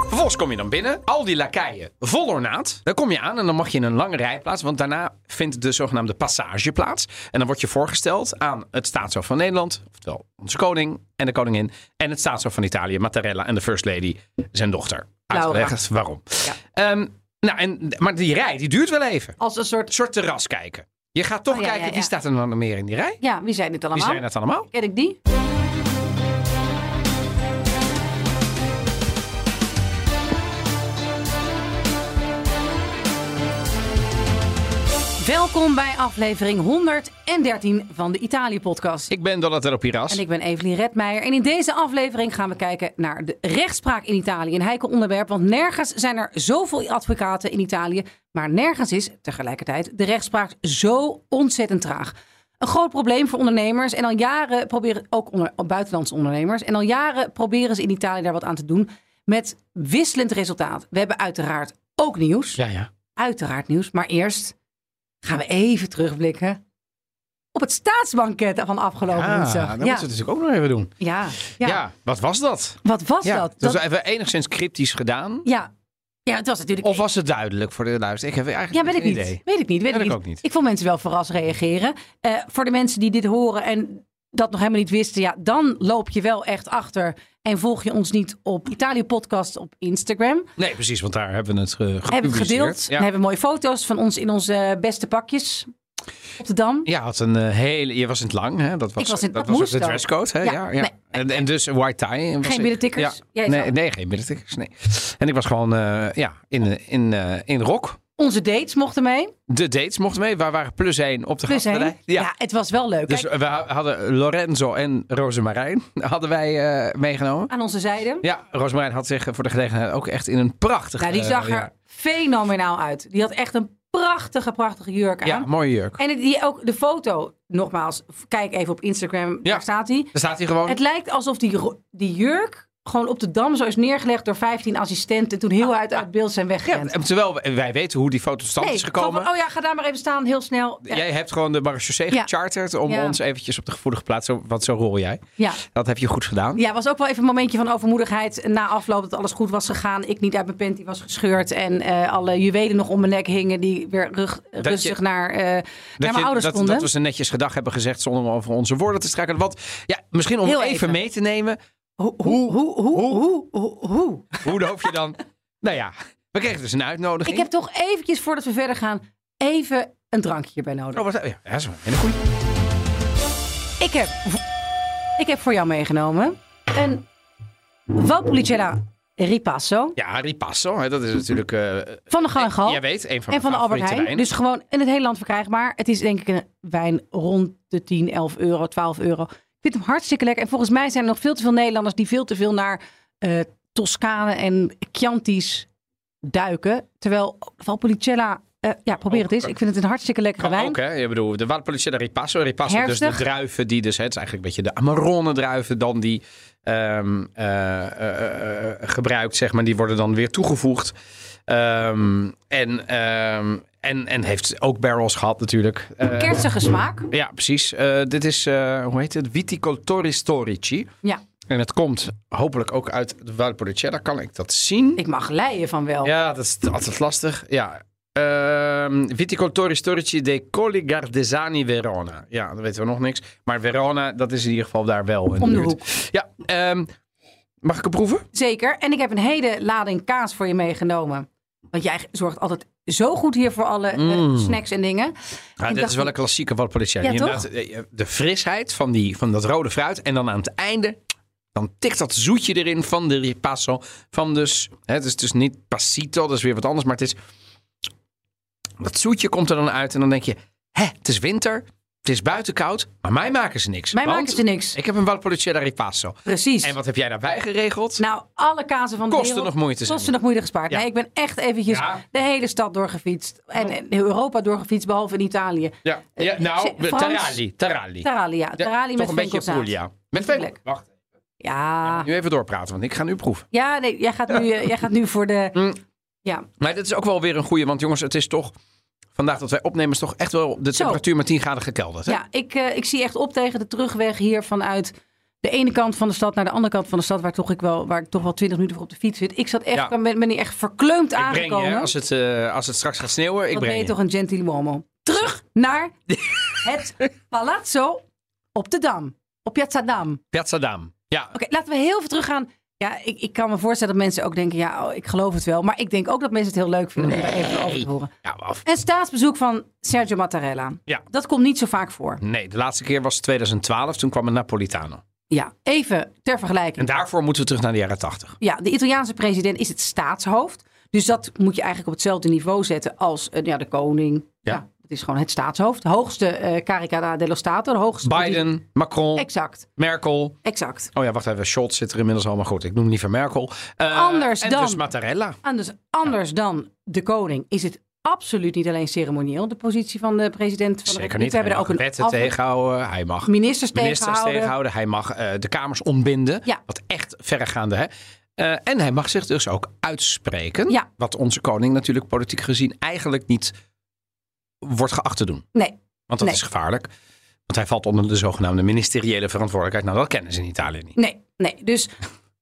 Vervolgens kom je dan binnen. Al die lakeien vol ornaat. Dan kom je aan en dan mag je in een lange rijplaats. Want daarna vindt de zogenaamde passage plaats. En dan word je voorgesteld aan het staatshoofd van Nederland. Oftewel onze koning en de koningin. En het staatshoofd van Italië, Mattarella. En de first lady, zijn dochter. Laura. Uitgelegd waarom. Ehm, nou, en, maar die rij die duurt wel even. Als een soort... Een soort terras kijken. Je gaat toch Oh, ja, kijken, ja, ja. wie staat er dan nog meer in die rij? Ja, wie zijn dit Wie allemaal? zijn dat allemaal? Ken ik die? Welkom bij aflevering 113 van de Italië-podcast. Ik ben Donatello Piras. En ik ben Evelien Redmeijer. En in deze aflevering gaan we kijken naar de rechtspraak in Italië. Een heikel onderwerp, want nergens zijn er zoveel advocaten in Italië. Maar nergens is tegelijkertijd de rechtspraak zo ontzettend traag. Een groot probleem voor ondernemers. En al jaren proberen, ook onder, ook buitenlandse ondernemers. En al jaren proberen ze in Italië daar wat aan te doen. Met wisselend resultaat. We hebben uiteraard ook nieuws. Ja, ja. Uiteraard nieuws. Maar eerst gaan we even terugblikken. Op het staatsbanket van afgelopen Ah, dat Oh, woensdag. moeten we natuurlijk ook nog even doen. Ja, ja. Ja, wat was dat? wat was ja, dat? was Dat- even enigszins cryptisch gedaan. ja. ja, het was natuurlijk... Of was het duidelijk voor de luister? Ik heb ja, eigenlijk weet ik geen niet. idee. Weet ik niet. Weet Ja, ik dat niet. ook niet. Ik vond mensen wel verrast reageren. Eh, voor de mensen die dit horen en dat nog helemaal niet wisten, ja, dan loop je wel echt achter en volg je ons niet op Italië Podcast op Instagram. Nee, precies, want daar hebben we het eh, gepubliceerd. Hebben we het gedeeld. Ja. We hebben mooie foto's van ons in onze eh, beste pakjes op de Dam. Ja, had een eh, hele. Je was in het lang, hè? Dat was, was in- dat dat was ook moest de ook. dresscode, hè? Ja, Ja, ja. nee. En, en dus white tie. Was ik. binnentikkers? Ja. Jij Nee, wel. nee, geen binnentikkers. Nee. En ik was gewoon eh, ja, in, eh, in, eh, in rok. Onze dates mochten mee. De dates mochten mee. Waar waren plus één op de Plus één. Ja. gastenrij. Ja. het was wel leuk. Dus Kijk, we hadden Lorenzo en Rosemarijn hadden wij eh, meegenomen. aan onze zijde. Ja, Rosemarijn had zich voor de gelegenheid ook echt in een prachtig... Nou, die eh, zag er ja. fenomenaal uit. Die had echt een prachtige, prachtige jurk aan. Ja, mooie jurk. En het- die, ook de foto, nogmaals, kijk even op Instagram, daar staat hij. Daar staat hij gewoon. Het lijkt alsof die, ro- die jurk gewoon op de dam zo is neergelegd door 15 assistenten. Toen heel uit, uit beeld zijn Ah, Ja, weggerend. en terwijl wij- wij weten hoe die foto tot stand is gewoon gekomen. van, oh ja, ga daar maar even staan, heel snel. Ja, Jij hebt gewoon de marechaussee Ja. gecharterd om Ja. ons eventjes op de gevoelige plaats, zo- want zo rol jij. ja. Dat heb je goed gedaan. Ja, was ook wel even een momentje van overmoedigheid na afloop dat alles goed was gegaan. Ik niet uit mijn panty was gescheurd en eh, alle juwelen nog om mijn nek hingen die weer rug, rustig je- naar, eh, naar mijn je- ouders dat, konden. dat we ze netjes gedag hebben gezegd zonder over onze woorden te strijken. Want ja, misschien om Heel even, even. mee te nemen, Hoe, hoe, hoe, hoe, hoe, hoe, hoe? hoe hoop je dan... nou ja, we kregen dus een uitnodiging. Ik heb toch eventjes, voordat we verder gaan, even een drankje hierbij nodig. Oh, wat, ja, dat is een hele goeie. Ik heb, ik heb voor jou meegenomen een Valpolicella Ripasso Ja, Ripasso, hè, dat is natuurlijk... eh, van de Gal en Gal Jij weet, een van, en van de Albert Heijn. Dus Dus gewoon in het hele land verkrijgbaar. Het is denk ik een wijn rond de 10, 11 euro, 12 euro. Ik vind hem hartstikke lekker. En volgens mij zijn er nog veel te veel Nederlanders die veel te veel naar eh Toscane en Chianti's duiken. Terwijl Valpolicella, eh, ja probeer Oh. het eens. Ik vind het een hartstikke lekkere kan wijn. ook, hè? Ik bedoel, de Valpolicella Ripasso. Ripasso, dus Herfstig. de druiven die dus... Hè, het is eigenlijk een beetje de Amarone druiven dan die ehm, eh, eh, eh, eh, gebruikt, zeg maar. Die worden dan weer toegevoegd. Ehm, en, ehm, en, en heeft ook barrels gehad natuurlijk. Eh, Kerstige smaak. ja, precies. Eh, dit is, eh, hoe heet het? Viticoltori Storici. Ja, En het komt hopelijk ook uit de Valpolicella. Kan ik dat zien? ik mag leien van wel. Ja, dat is altijd lastig. Ja. Ehm Viticoltori Storici dei Colli Gardesani Verona. Ja, dat weten we nog niks. Maar Verona, dat is in ieder geval daar wel in Om de buurt. hoek. Ja, ehm, mag ik het proeven? Zeker. En ik heb een hele lading kaas voor je meegenomen. Want jij zorgt altijd zo goed hier voor alle eh, snacks en dingen. Mm. Ja, Ik dit dacht- is wel een klassieke Valpolicella. Ja, Inderdaad, eh, De frisheid van, die, van dat rode fruit. En dan aan het einde, dan tikt dat zoetje erin van de ripasso. Van dus, hè, het is dus niet passito, dat is weer wat anders. Maar het is, dat zoetje komt er dan uit. En dan denk je, hè, het is winter, het is buiten koud. Maar mij maken ze niks. Mij want maken ze niks. Ik heb een Valpolicella ripasso. Precies. En wat heb jij daarbij geregeld? Nou, alle kazen van de Kosten wereld nog moeite, zeg Kosten maar. nog moeite gespaard. Ja. Nee, ik ben echt eventjes Ja. de hele stad doorgefietst. En, en heel Europa doorgefietst, behalve in Italië. ja, ja, nou, eh, Frans- Tarali. Tarali. Terralia. Ja, Ja, Terralia toch met een beetje venkelzaad. Puglia. Met venkel. Lekker. Wacht, Ja. nu even doorpraten, want ik ga nu proeven. Ja, nee, jij gaat nu, eh, jij gaat nu voor de... Mm. Ja, Maar dat is ook wel weer een goeie, want jongens, het is toch vandaag dat wij opnemen, is toch echt wel de Zo. temperatuur met 10 graden gekelderd. Hè? ja ik, eh, ik zie echt op tegen de terugweg hier vanuit de ene kant van de stad naar de andere kant van de stad, waar, toch ik wel, waar ik toch wel 20 minuten voor op de fiets zit. Ik zat echt, Ja. ben, ben hier echt verkleumd Ik breng je, aangekomen. hè. als het, eh, als het straks gaat sneeuwen, ik Wat ben breng je je. toch een gentlewoman. Terug naar het Palazzo op de Dam. Op Piazza Dam. Oké, Piazza Dam. Ja, laten we heel veel teruggaan. Ja, ik, ik kan me voorstellen dat mensen ook denken, ja, oh, ik geloof het wel. Maar ik denk ook dat mensen het heel leuk vinden om daar even over te horen. ja af. Een staatsbezoek van Sergio Mattarella. Ja. Dat komt niet zo vaak voor. Nee, de laatste keer was 2012, toen kwam een Napolitano. Ja, even ter vergelijking. En daarvoor moeten we terug naar de jaren 80. Ja, de Italiaanse president is het staatshoofd. Dus dat moet je eigenlijk op hetzelfde niveau zetten als eh, ja, de koning. Ja. dat is gewoon het staatshoofd. De hoogste eh Caricata dello Stato. De hoogste Biden, Macron, Exact, Merkel. exact. Oh ja, wacht even, Scholz zit er inmiddels al, maar goed, ik noem liever Merkel. Eh, Anders en dan. dus Mattarella. En dus anders dan de koning is het absoluut niet alleen ceremonieel, de positie van de president van de Zeker Republiek. niet. We hebben Hij er mag ook een wetten af- tegenhouden, hij mag ministers, ministers tegenhouden. tegenhouden, hij mag eh, de kamers ontbinden. Ja. Wat echt verregaande, hè? Eh, en hij mag zich dus ook uitspreken. Ja. Wat onze koning natuurlijk politiek gezien eigenlijk niet wordt geacht te doen. Nee, Want dat Nee. is gevaarlijk. Want hij valt onder de zogenaamde ministeriële verantwoordelijkheid. Nou, dat kennen ze in Italië niet. nee, nee. Dus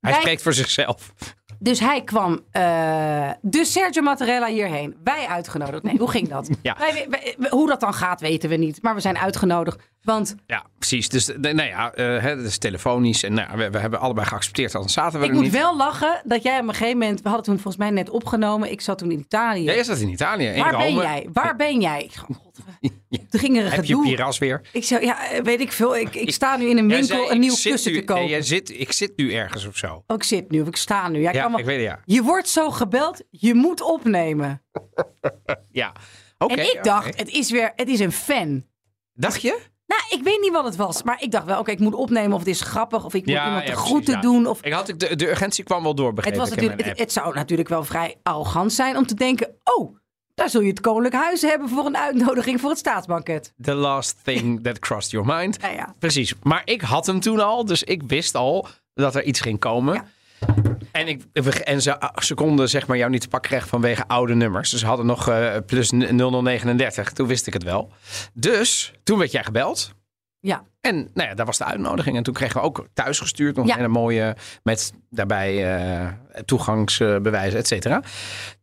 Hij Wij- spreekt voor zichzelf. Dus hij kwam, eh, dus Sergio Mattarella hierheen. Wij uitgenodigd. Nee, hoe ging dat? Ja. Wij- wij- wij- hoe dat dan gaat, weten we niet. Maar we zijn uitgenodigd. Want Ja, precies. Dus eh, nou ja, eh, hè, dat is telefonisch. En nou, ja, we, we hebben allebei geaccepteerd, anders zaten we ik er moet niet. wel lachen dat jij op een gegeven moment... We hadden toen volgens mij net opgenomen. Ik zat toen in Italië. Ja, is dat in Italië? In Waar Rome. ben jij? Waar ben jij? Ik dacht, God, er ging er een Heb je gedoe. Piras weer? Ik zei, ja, eh, weet ik veel. Ik, ik sta nu in een Jij winkel zei, een ik nieuw zit kussen nu- te kopen. Nee, jij zit, ik zit nu ergens of zo. Oh, ik zit nu, of ik sta nu. Ja, ik Ja, kan wel- ik weet het, ja. Je wordt zo gebeld, je moet opnemen. Ja. Oké. en ik oké. dacht, het is weer, het is een fan. Dacht je? Nou, ik weet niet wat het was. Maar ik dacht wel, oké, ik moet opnemen of het is grappig. Of ik moet iemand de precies, groeten ja. doen. Of... Ik had, ik- de, de urgentie kwam wel door, begreep Het, was ik, in natuurlijk, mijn het, app. het zou natuurlijk wel vrij arrogant zijn om te denken... oh, daar zul je het Koninklijk Huis hebben voor een uitnodiging voor het staatsbanket. The last thing that crossed your mind. Nou ja. Precies. Maar ik had hem toen al, dus ik wist al dat er iets ging komen. En, ik, en ze, ah, ze konden zeg maar jou niet te pakken krijgen vanwege oude nummers. Dus ze hadden nog eh, plus 0039. Toen wist ik het wel. Dus toen werd jij gebeld. Ja, En nou ja, daar was de uitnodiging. En toen kregen we ook thuis gestuurd nog Ja. een hele mooie... met daarbij eh, toegangsbewijzen, et cetera.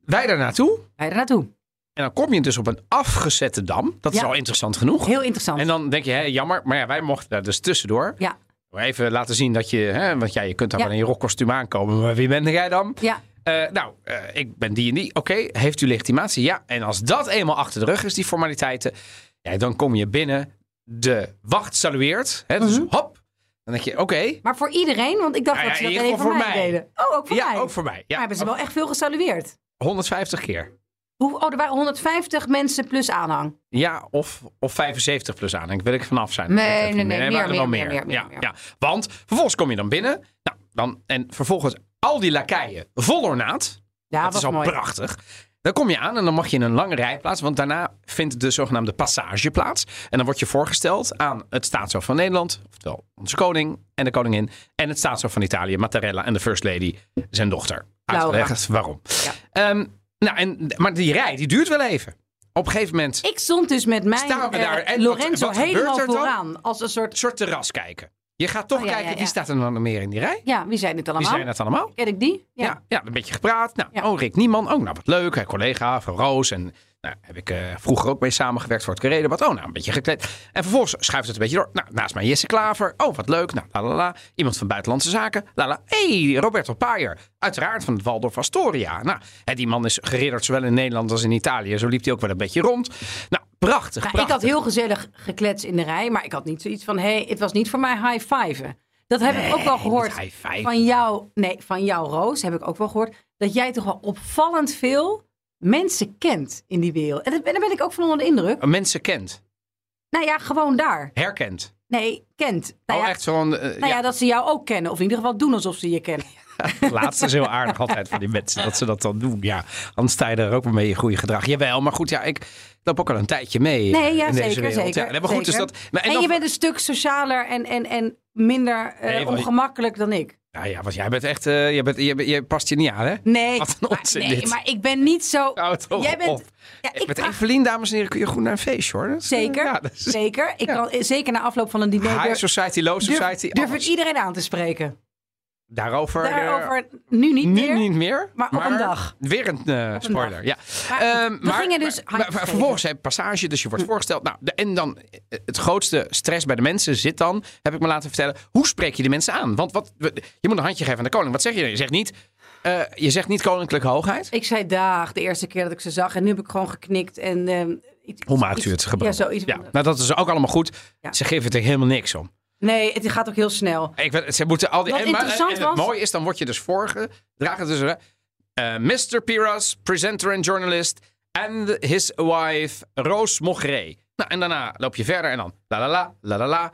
Wij daar naartoe. ga je er naartoe. En dan kom je dus op een afgezette dam. Dat is Ja. al interessant genoeg. Heel interessant. En dan denk je, hé, jammer. Maar ja, wij mochten daar dus tussendoor. Ja, Maar Even laten zien dat je... Hè, want ja, je kunt daar Ja. wel in je rokkostuum aankomen. Maar wie ben jij dan? ja. Eh, nou, eh, ik ben die en die. Oké, heeft u legitimatie? Ja. En als dat eenmaal achter de rug is, die formaliteiten... Ja, dan kom je binnen. De wacht salueert. Hè, dus Mhm. hop. Dan denk je, oké. Maar voor iedereen, want ik dacht Nou dat ze ja, dat in alleen ieder voor geval mij, voor mij. deden. Oh, ook voor ja, mij. ook voor mij. Maar Ja, hebben ze wel echt veel gesalueerd. 150 keer. Hoe, oh, er waren 150 mensen plus aanhang. Ja, of, of 75 plus aan. Ik wil ik vanaf zijn. Nee, Dat weet ik nee, niet nee, Er meer, waren er wel meer, meer, meer, ja, meer. ja. Want vervolgens kom je dan binnen. Nou, dan, en vervolgens al die lakeien vol ornaat. Ja, dat was is al Ah, mooi. prachtig. Dan kom je aan en dan mag je in een lange rijplaats. Want daarna vindt de zogenaamde passage plaats. En dan word je voorgesteld aan het staatshoofd van Nederland. Oftewel onze koning en de koningin. En het staatshoofd van Italië, Mattarella. En de first lady, zijn dochter. Laura. Uitgelegd waarom. Ehm, nou, en, maar die rij, die duurt wel even. Op een gegeven moment Ik stond dus met mijn Staan we eh, daar en wat- Lorenzo wat gebeurt helemaal er dan? vooraan. Als een soort, soort terras kijken. Je gaat toch Oh, ja, kijken, ja, ja. wie staat er dan meer in die rij? ja, wie zijn dit Wie allemaal? zijn dat allemaal? Ken ik die? Ja, ja, een beetje gepraat. Nou, Ja. oh, Rick Nieman. Oh, nou, wat leuk. Hè, collega van Roos. En nou, heb ik eh, vroeger ook mee samengewerkt voor het Carré Wat, oh, nou, een beetje gekleed. En vervolgens schuift het een beetje door. Nou, naast mij Jesse Klaver. Oh, wat leuk. Nou, la, la, la. Iemand van Buitenlandse Zaken. La, la. hey, Roberto Paaier. Uiteraard van het Waldorf Astoria. Nou, hè, die man is geridderd zowel in Nederland als in Italië. Zo liep hij ook wel een beetje rond. Nou, prachtig, Nou, ik prachtig. had heel gezellig gekletst in de rij, maar ik had niet zoiets van: hey, het was niet voor mij high fiven. Dat heb ik ook wel gehoord. high five. Van jou, nee, van jou, Roos, heb ik ook wel gehoord. Dat jij toch wel opvallend veel mensen kent in die wereld. En dat- en daar ben ik ook van onder de indruk. Mensen kent. Nou ja, gewoon daar. Herkent. Nee, kent. Nou oh, ja, echt zo'n... eh, Nou ja. ja. dat ze jou ook kennen. Of in ieder geval doen alsof ze je kennen. Het laatste is heel aardig altijd van die mensen, dat ze dat dan doen. Ja, anders sta je er ook maar mee in goede gedrag. Jawel, maar goed, ja, ik loop ook al een tijdje mee eh, Nee, ja, in deze zeker, wereld. zeker, ja, nee, maar goed, dus zeker. dat... maar en En, dan- je bent een stuk socialer en, en, en minder eh, Nee, wel- ongemakkelijk dan ik. Nou ja, want jij bent echt... eh, jij, bent, jij, bent- jij past je niet aan, hè? Nee, Wat een maar- onzin nee, dit. maar ik ben niet zo... Nou, toch Jij bent... op. Ja, ik Met draag- Evelien, dames en heren, kun je goed naar een feestje, hoor. Dat is, eh, Zeker, Ja, dat is zeker. Ik ja. kan, eh, zeker na afloop van een diner... high durf- society, low durf- society. durf alles. ik iedereen aan te spreken. Daarover... eh, Daarover nu niet nu meer. niet meer. maar op een dag. Weer een eh, spoiler, ja. Maar Ehm, we gingen dus Hm. maar- maar high vervolgens heb je passage, dus je wordt voorgesteld. Nou, de- en dan eh, het grootste stress bij de mensen zit dan, heb ik me laten vertellen, hoe spreek je de mensen aan? Want wat, we- je moet een handje geven aan de koning. Wat zeg je? dan? Je zegt niet, eh, je zegt niet koninklijke hoogheid. Ik zei dag de eerste keer dat ik ze zag. En nu heb ik gewoon geknikt. En, ehm, iets- Hoe maakt iets- u het gebruik? Ja, zoiets. Ja, nou dat is ook allemaal goed. Ja. Ze geven het er helemaal niks om. Nee, het gaat ook heel snel. Ik weet, ze moeten al die. Wat en, maar- interessant en was- Het mooie is, dan word je dus voorgedragen tussen. dus eh, Mr. Piras, presenter en journalist. And his wife, Roos Mogré. Nou, en daarna loop je verder en dan. La la la, la la la.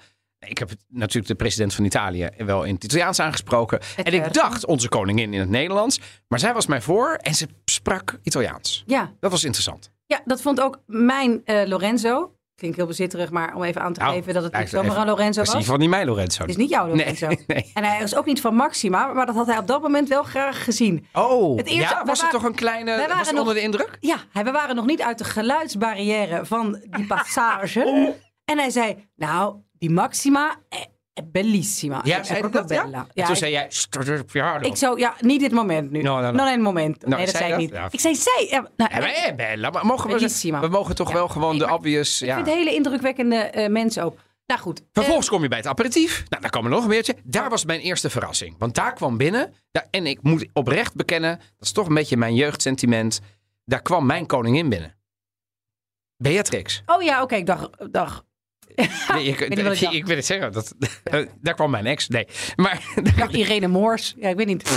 Ik heb het- natuurlijk de president van Italië wel in het Italiaans aangesproken. en ik werd. dacht onze koningin in het Nederlands. Maar zij was mij voor en ze sprak Italiaans. Ja, Dat was interessant. ja dat vond ook mijn eh, Lorenzo. Klinkt heel bezitterig, maar om even aan te Nou, geven dat het niet lijkt zomaar even- een Lorenzo Dat is in was. ieder geval niet mij, Lorenzo. Het is niet jouw Lorenzo. Nee, nee. En hij is ook niet van Maxima, maar dat had hij op dat moment wel graag gezien. Oh, Het eerste- ja, we was het waren- toch een kleine... Was waren het nog- onder de indruk? Ja, hij- we waren nog niet uit de geluidsbarrière van die passage. en hij zei, nou, die Maxima è, è bellissima. Eh, Ja, È zei hij proprio dat, ja? bella. En toen ik- zei jij... "Stutter op je haar Ik zou, ja, niet dit moment nu. No, no, no. Non een moment. Nou, nee, dat zei zei ik dat? niet. Ja. Ik zei zij. Ja, nou, Ja, maar, eh, Bella, maar mogen we, Bellissima. we mogen toch Ja. wel gewoon Nee, de maar obvious... Ik Ja. vind het hele indrukwekkende eh, mensen ook. Nou goed. Vervolgens kom je bij het aperitief. Nou, daar kwam er nog een beetje. Daar was mijn eerste verrassing. Want daar kwam binnen... Daar, en ik moet oprecht bekennen... Dat is toch een beetje mijn jeugdsentiment. Daar kwam mijn koningin binnen. Beatrix. Eh, oh ja, oké. ik dacht, dag. Nee, ik, weet niet wat ik ik, dacht. ik wil het zeggen. Dat, Eh, daar kwam mijn ex. Nee. Maar daar- dacht Irene Moors. Ja, ik weet niet.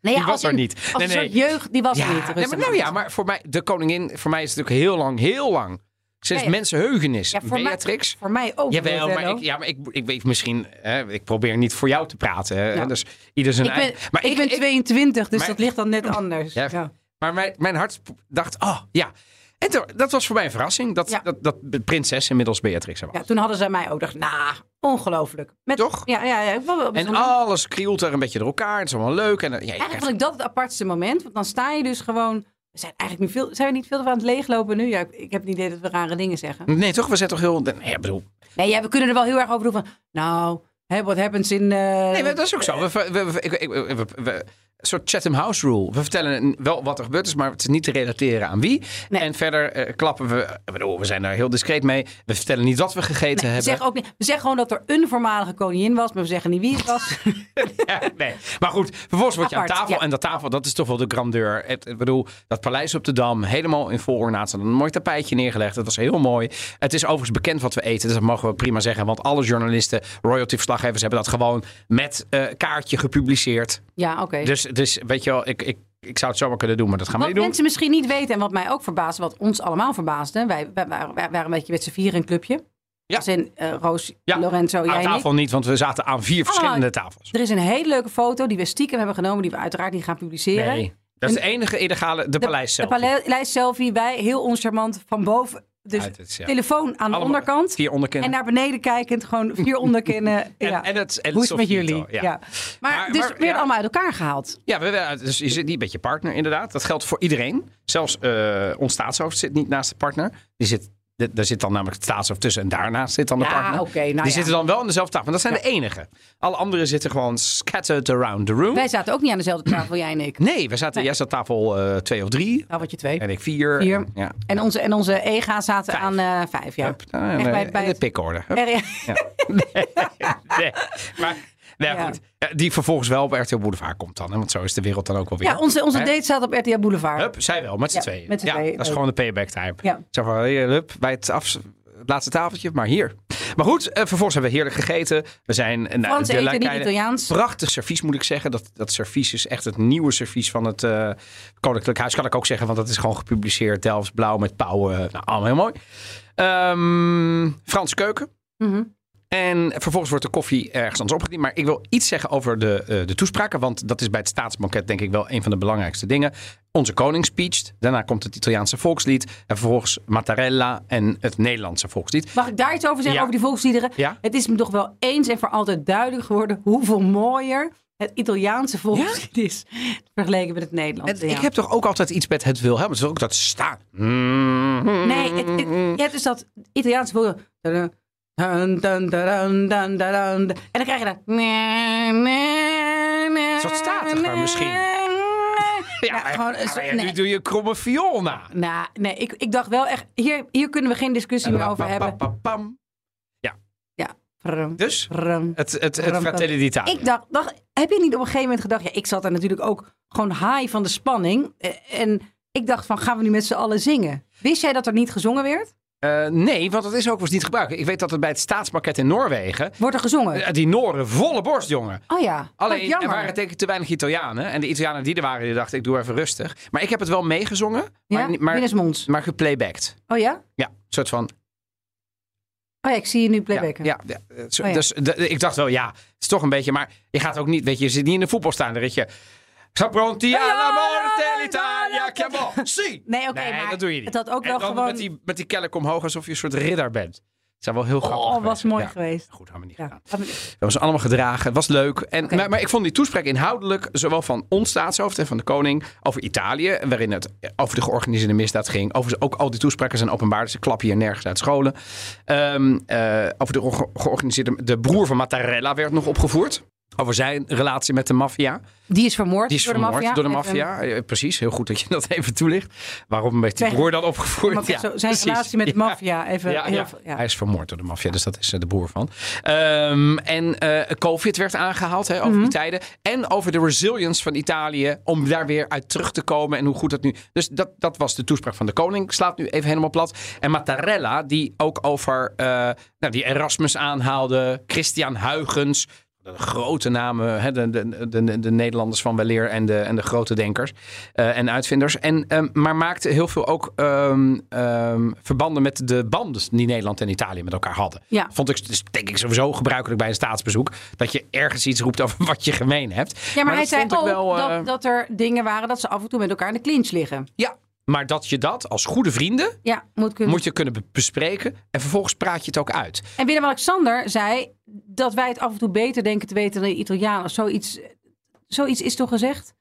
Nee, Die was als er een- niet. Als Nee, een nee. soort jeugd, die was ja, er niet. nee, maar, nou ja, maar voor mij... De koningin... Voor mij is het natuurlijk heel lang, heel lang... Sinds Ja, ja. mensenheugenis. Ja, voor mij- Beatrix. Voor mij ook. Jawel, maar Donatello. ik, ja, maar ik, ik weet misschien, hè, ik probeer niet voor jou te praten. Hè, Ja. Dus ieder zijn Nou, Ik ben, eigen. Maar ik, ben 22, dus maar- dat ligt dan net anders. Ja. Ja. maar mijn, mijn hart dacht, oh ja. En toen- dat was voor mij een verrassing dat, Ja. dat, dat de prinses inmiddels Beatrix er was. Ja, toen hadden zij mij ook. dacht, nou, ongelooflijk. Met, Toch? Ja, ja, ja. ik vond wel en bijzonder. alles krielt er een beetje door elkaar. Het is allemaal leuk. En, eh, ja, je Eigenlijk krijgt- vond ik dat het apartste moment. Want dan sta je dus gewoon... We zijn eigenlijk nu veel... Zijn we niet veel aan het leeglopen nu? Ja, ik, ik heb het idee dat we rare dingen zeggen. nee, toch? We zijn toch heel... Nee, ik bedoel, Nee, ja, we kunnen er wel heel erg over doen van... Nou, hè, what happens in... eh, nee, maar dat is ook zo. We, we, we- ik- ik- we- we- we- een soort Chatham House rule. We vertellen wel wat er gebeurd is, maar het is niet te relateren aan wie. Nee. En verder eh, klappen we... ik bedoel, we zijn daar heel discreet mee. We vertellen niet wat we gegeten nee, we hebben. zeggen ook niet, we zeggen gewoon dat er een voormalige koningin was, maar we zeggen niet wie het was. Ja, nee. Maar goed, vervolgens word je aan Apart, tafel. ja. En dat tafel, dat is toch wel de grandeur. Het- Ik bedoel, dat paleis op de Dam, helemaal in vol ornaat. Ze hadden Een mooi tapijtje neergelegd. Dat was heel mooi. Het is overigens bekend wat we eten. Dus dat mogen we prima zeggen. Want alle journalisten, royalty-verslaggevers hebben dat gewoon met eh, kaartje gepubliceerd. ja, oké. Dus, dus weet je wel, ik, ik, ik zou het zomaar kunnen doen, maar dat gaan we Wat niet doen. mensen misschien niet weten en wat mij ook verbaasde, wat ons allemaal verbaasde. Wij, wij, waren- wij waren een beetje met z'n vier een clubje. Ja. Als in eh, Roos, Ja, Lorenzo, Oh, jij Ah, Aan en ik. tafel niet, want we zaten aan vier verschillende tafels. Er is een hele leuke foto die we stiekem hebben genomen, die we uiteraard niet gaan publiceren. Nee, dat is de enige illegale, de paleis zelf. De paleis selfie, wij heel oncharmant van boven. Dus Uit het, ja. telefoon aan de Allemaal onderkant. Vier onderkennen. En naar beneden kijkend, gewoon vier onderkennen. En- ja. en het- en Hoe het is het met soffito, jullie? ja. Ja. Maar, Maar- dus maar- weer ja. allemaal uit elkaar gehaald. Ja, we, we- dus je zit niet met je partner, inderdaad. Dat geldt voor iedereen. Zelfs eh ons staatshoofd zit niet naast de partner. Die zit, de- daar zit dan namelijk het staatshoofd tussen en daarnaast zit dan de Ja, partner. oké, nou die ja. zitten dan wel aan dezelfde tafel, maar dat zijn de enige. Alle anderen zitten gewoon scattered around the room. Wij zaten ook niet aan dezelfde tafel, jij en ik. Nee, we zaten, jij zat tafel eh, twee of drie. Nou, wat je twee. En ik vier. Vier. En, ja. En onze, en onze EGA zaten Vijf. aan eh, vijf, ja. Hup, nou, en, Echt bij- eh, bij en de het- pikorde. Hup. Er- Nee, maar nou, Ja. goed. Ja, Die vervolgens wel op RTL Boulevard komt dan. Hè, want zo is de wereld dan ook wel weer. ja, onze, onze Hè? date staat op RTL Boulevard. Hup, zij wel, met z'n Ja, tweeën. met z'n ja, tweeën. dat is gewoon de payback time. Ja. Zo van, hey, hup, bij het, af, het laatste tafeltje, maar hier. Maar goed, eh, vervolgens hebben we heerlijk gegeten. We zijn... eh, nou, Frans de eten, niet lakeilen- Italiaans. Prachtig servies, moet ik zeggen. Dat, dat servies is echt het nieuwe servies van het eh, Koninklijk Huis. Kan ik ook zeggen, want dat is gewoon gepubliceerd. Delfts eh, Blauw met pauwen. Nou, allemaal heel mooi. Ehm Frans Keuken. Mhm. En vervolgens wordt de koffie ergens anders opgediend. Maar ik wil iets zeggen over de, eh, de toespraken. Want dat is bij het staatsbanket denk ik wel een van de belangrijkste dingen. Onze koning speecht. Daarna komt het Italiaanse volkslied. En vervolgens Mattarella en het Nederlandse volkslied. Mag ik daar iets over zeggen, Ja. over die volksliederen? Ja. Het is me toch wel eens en voor altijd duidelijk geworden hoeveel mooier het Italiaanse volkslied is vergeleken met het Het- Nederlandse. ja. Ik heb toch ook altijd iets met het Wilhelm. Het is ook dat staan. Mhm. Nee, het, het, ja, het is dat Italiaanse volkslied. Dun, dun, dun, dun, dun, dun, dun. En dan krijg je dat. Een soort statiger misschien. Ja, gewoon een soort- Nu nee. doe je kromme viool na. Nou, nee, ik, ik dacht wel echt, hier, hier kunnen we geen discussie meer over hebben. Pam. Ja. Prum, Dus prum. het, het, het Rampen. Fratelli d'Italia. Ik dacht, dacht, heb je niet op een gegeven moment gedacht... Ja, ik zat daar natuurlijk ook gewoon high van de spanning. Eh, En ik dacht van, gaan we nu met z'n allen zingen? Wist jij dat er niet gezongen werd? Eh, nee, want dat is ook wel eens niet gebruikt. Ik weet dat het bij het staatsbanket in Noorwegen... Wordt er gezongen? eh, die Noren volle borst, jongen. oh ja, Alleen, Alleen er jammer. waren denk ik te weinig Italianen. En de Italianen die er waren, die dachten ik doe even rustig. Maar ik heb het wel meegezongen, maar, ja? niet- maar, Binnensmonds. maar geplaybacked. Oh ja? Ja, een soort van... Oh ja, ik zie je nu Ja, playbacken. ja, ja, eh, zo- Oh ja. Dus de- de- ik dacht wel, ja, het is toch een beetje... Maar je gaat ook niet, weet je, je zit niet in de voetbalstaan. Dan rit je... Sapronti alla morte l'Italia, chiamo. Si! Nee, oké, Nee, maar dat doe je niet. het had ook En wel dan gewoon... met die, met die kelk omhoog, alsof je een soort ridder bent. Het zou wel heel grappig oh, was geweest mooi zijn. Ja. geweest. Goed, hadden we niet Ja. gedaan. Dat was allemaal gedragen. Het was leuk. En, Oké. maar, maar ik vond die toespraak inhoudelijk, zowel van ons staatshoofd en van de koning, over Italië, waarin het over de georganiseerde misdaad ging. Overigens ook al die toespraken zijn openbaar, dus ze klappen hier nergens uit scholen. Ehm, eh, over de ge- georganiseerde... De broer van Mattarella werd nog opgevoerd. Over zijn relatie met de maffia. Die is vermoord Die is door de vermoord maffia. door de Even- maffia. Eh, precies, heel goed dat je dat even toelicht. Waarom werd die Zeg- broer dan opgevoerd? Maar Ja, zo- zijn precies. relatie met de Ja. maffia. Even Ja, heel ja. veel- ja. Hij is vermoord door de maffia, dus dat is eh, de boer van. Ehm, en eh, COVID werd aangehaald hè, over Mhm. die tijden. En over de resilience van Italië om daar weer uit terug te komen en hoe goed dat nu... Dus dat, dat was de toespraak van de koning. Slaat nu even helemaal plat. En Mattarella, die ook over eh, nou, die Erasmus aanhaalde, Christian Huygens... De grote namen, hè, de, de, de, de Nederlanders van weleer en de, en de grote denkers eh, en uitvinders. En, ehm, maar maakte heel veel ook ehm, ehm, verbanden met de band die Nederland en Italië met elkaar hadden. Ja. Vond ik dus, denk ik sowieso gebruikelijk bij een staatsbezoek. Dat je ergens iets roept over wat je gemeen hebt. Ja, maar, hij dat zei vond ook ik wel, eh, dat, dat er dingen waren dat ze af en toe met elkaar in de clinch liggen. Ja, maar dat je dat als goede vrienden Ja, moet kunnen. moet je kunnen be- bespreken. En vervolgens praat je het ook uit. En Willem-Alexander zei dat wij het af en toe beter denken te weten dan de Italianen. Of Zoiets, zoiets is toch gezegd?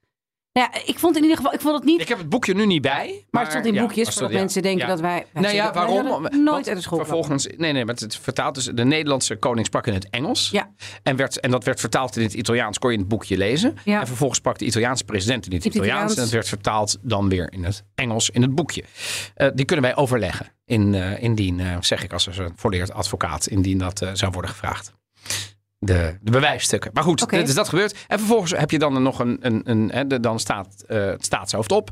Nou ja, ik vond in ieder geval, ik vond het niet. Ik heb het boekje nu niet bij. Maar, maar het stond in ja, boekjes maar zodat ja, mensen denken ja. dat wij. wij Nou ja, zullen- wij waarom? zullen Want Nooit uit de school. klappen. Vervolgens, nee, nee, maar het vertaalt dus. De Nederlandse koning sprak in het Engels. Ja. En, werd, en dat werd vertaald in het Italiaans, kon je in het boekje lezen. Ja. En vervolgens sprak de Italiaanse president in het Italiaans. Italiaans. En dat werd vertaald dan weer in het Engels in het boekje. Eh, die kunnen wij overleggen. In, eh, indien, eh, zeg ik als een volleerd advocaat, indien dat eh, zou worden gevraagd. De, de bewijsstukken. Maar goed, Oké. dus dat gebeurt. En vervolgens heb je dan nog een. een, een hè, de- dan staat eh, het staatshoofd op.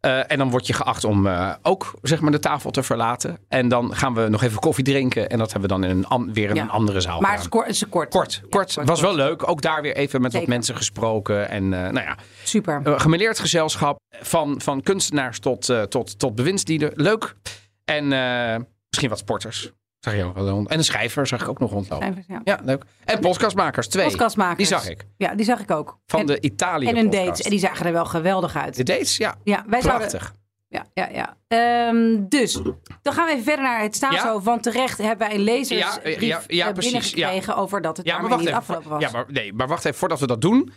Eh, en dan word je geacht om eh, ook zeg maar, de tafel te verlaten. En dan gaan we nog even koffie drinken. En dat hebben we dan in een, an- weer in Ja. een andere zaal. Maar het is gedaan. kort. het is kort. Kort, kort. kort, was wel leuk. Ook daar weer even met Zeker. wat mensen gesproken. En eh, nou ja, Super. eh, gemêleerd gezelschap. Van, van kunstenaars tot, eh, tot, tot bewindslieden. Leuk. En eh, misschien wat sporters. Zag je ook wel rond. En een schrijver zag ik ook nog rondlopen. Cijfers, Ja. Ja, leuk. En podcastmakers, twee. Podcastmakers. Die zag ik. Ja, die zag ik ook. Van en, de Italië en hun podcast. dates. En die zagen er wel geweldig uit. De dates, ja. Ja, wij zouden, Prachtig. Ja, ja, ja. Ehm, dus, dan gaan we even verder naar het staatshoofd. Want terecht hebben wij een lezersbrief Ja, ja, ja, eh, precies, binnengekregen over dat het Ja, maar daarmee wacht niet even. afgelopen was. Ja, maar, nee, maar wacht even, voordat we dat doen.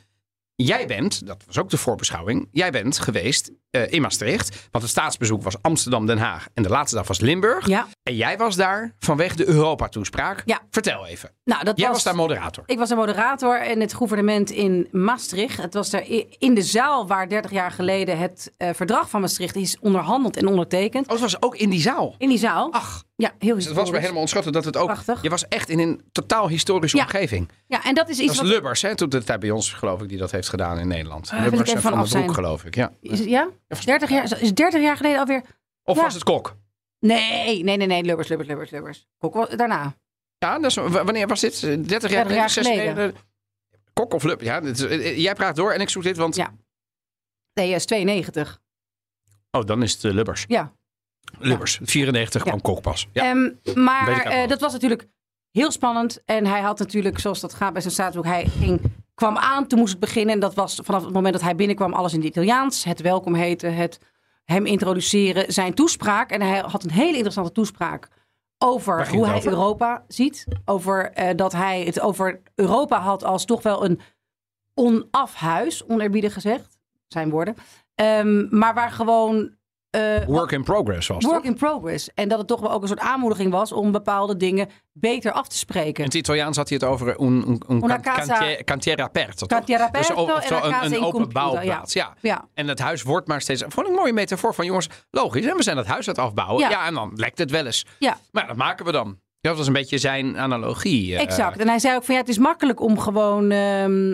Jij bent, dat was ook de voorbeschouwing, jij bent geweest eh, in Maastricht. Want het staatsbezoek was Amsterdam-Den Haag en de laatste dag was Limburg. Ja. En jij was daar vanwege de Europa-toespraak. Ja. Vertel even. nou, dat Jij was, was daar moderator. Ik was een moderator in het gouvernement in Maastricht. Het was daar i- in de zaal waar 30 jaar geleden het eh, verdrag van Maastricht is onderhandeld en ondertekend. Oh, het was ook in die zaal. In die zaal. Ach, ja, heel Ah. Dus het was me helemaal ontschoten dat het ook... Prachtig. Je was echt in een totaal historische Ja. omgeving. Ja, en dat is Dat iets is wat... Lubbers, hè? Toen de tijd bij ons, geloof ik, die dat heeft gedaan in Nederland. wil ik Lubbers en even Van vanaf der Broek, zijn. geloof ik, ja. Is, het- ja? 30 jaar, is 30 jaar geleden alweer... Of Ja. was het Kok? Nee, nee, nee, nee. Lubbers, Lubbers, Lubbers, Lubbers. Kok was- daarna. Ja, dat is, w- wanneer was dit? 30 jaar, 30 jaar 60 Kok of Lub? Ja, dit is- eh, eh, jij praat door en ik zoek dit, want... Ja. Nee, is 92. Oh, dan is het eh, Lubbers. Ja. Lubbers. 94 kwam Kok pas. Ja. Ehm, Weet ik maar ook nog. eh, dat was natuurlijk Heel spannend. En hij had natuurlijk, zoals dat gaat bij zo'n staatsboek, hij ging, kwam aan, toen moest het beginnen. En dat was vanaf het moment dat hij binnenkwam alles in het Italiaans. Het welkom heten, het hem introduceren, zijn toespraak. En hij had een hele interessante toespraak Waar over ging hoe het hij over? Europa ziet. Over eh, dat hij het over Europa had als toch wel een onaf huis, onerbiedig gezegd. Zijn woorden. Ehm, maar waar gewoon... eh, Work in progress was het. Work in progress. En dat het toch wel ook een soort aanmoediging was om bepaalde dingen beter af te In spreken. het Italiaans had hij het over een, een, een Una can- casa- cantier- cantiera aperta. toch? Cantiera aperta Dus o- en oftewel la casa een, in een open computer, bouwplaats. Ja. Ja. En het huis wordt maar steeds... Vond ik een mooie metafoor van jongens, logisch. En we zijn dat huis aan het afbouwen. Ja. Ja. en dan lekt het wel eens. Ja. Maar dat maken we dan. Dat was een beetje zijn analogie. eh. Exact. En hij zei ook van ja, het is makkelijk om gewoon... ehm,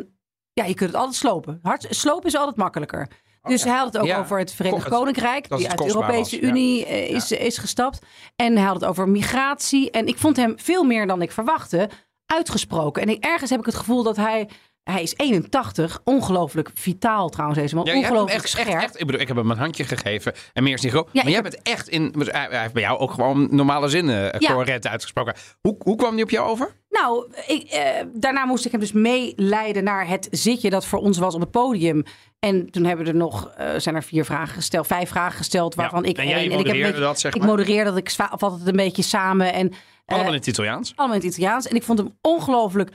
ja, je kunt het altijd slopen. Hard, slopen is altijd makkelijker. Dus hij had het ook ja. over het Verenigd Ko- het- Koninkrijk, dat die het uit de kostbaar Europese was, ja. Unie eh, is, is gestapt. En hij had het over migratie. En ik vond hem veel meer dan ik verwachtte uitgesproken. En ik, ergens heb ik het gevoel dat hij... Hij is 81, ongelooflijk vitaal trouwens deze man. Ja, jij hebt hem ongelooflijk echt, scherp. echt, echt, ik bedoel, ik heb hem een handje gegeven en meer is niet groot. Ja, maar ik jij bent echt in, dus hij hij heeft bij jou ook gewoon normale zinnen eh, Ja. correct uitgesproken. Hoe, hoe kwam die op jou over? Nou, ik, eh, daarna moest ik hem dus meeleiden naar het zitje dat voor ons was op het podium. En toen hebben er nog, eh, zijn er vier vragen gesteld, vijf vragen gesteld, waarvan Ja, ik en jij één- ik, heb een modereerde beetje- dat, zeg ik maar? modereer dat, ik zwa- vat het een beetje samen en eh, Allemaal in het Italiaans. allemaal in het Italiaans. En ik vond hem ongelooflijk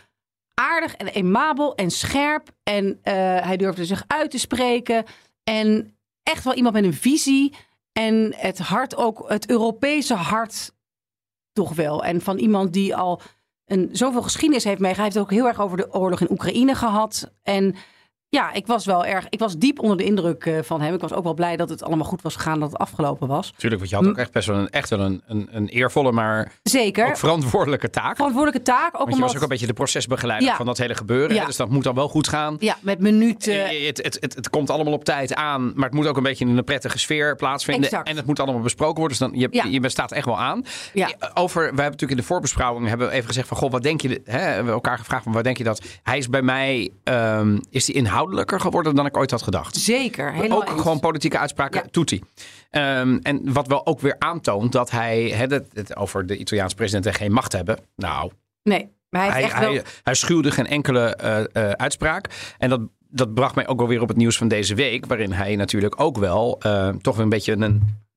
aardig en emabel en scherp. En eh, hij durfde zich uit te spreken. En echt wel iemand met een visie. En het hart ook, het Europese hart toch wel. En van iemand die al een, zoveel geschiedenis heeft meegemaakt. Hij heeft het ook heel erg over de oorlog in Oekraïne gehad. En ja, ik was wel erg, ik was diep onder de indruk eh, van hem. Ik was ook wel blij dat het allemaal goed was gegaan, dat het afgelopen was. Tuurlijk, want je had ook echt best wel een, echt wel een, een, een eervolle, maar ook Zeker. verantwoordelijke taak. Verantwoordelijke taak. Ook Want je omdat, was ook een beetje de procesbegeleider Ja. van dat hele gebeuren. Ja. hè, Dus dat moet dan wel goed gaan. ja, met minuten. Eh, Het, het, het, het komt allemaal op tijd aan, maar het moet ook een beetje in een prettige sfeer plaatsvinden. Exact. En het moet allemaal besproken worden. Dus dan, je, Ja. je staat echt wel aan. Ja. Eh, Over, we hebben natuurlijk in de voorbesprouwing hebben we even gezegd van, goh, wat denk je, hè, hebben we elkaar gevraagd van, wat denk je dat? Hij is bij mij, ehm, is die inhoudelijker geworden dan ik ooit had gedacht. Zeker. helemaal ook eens. gewoon politieke uitspraken, Ja. doet hij. Ehm, en wat wel ook weer aantoont dat hij, hè, dat, het over de Italiaanse president en geen macht hebben. Nou, Nee, maar hij hij, heeft echt hij, wel... hij schuwde geen enkele eh, eh, uitspraak. En dat, dat bracht mij ook wel weer op het nieuws van deze week. Waarin hij natuurlijk ook wel eh, toch weer een beetje een,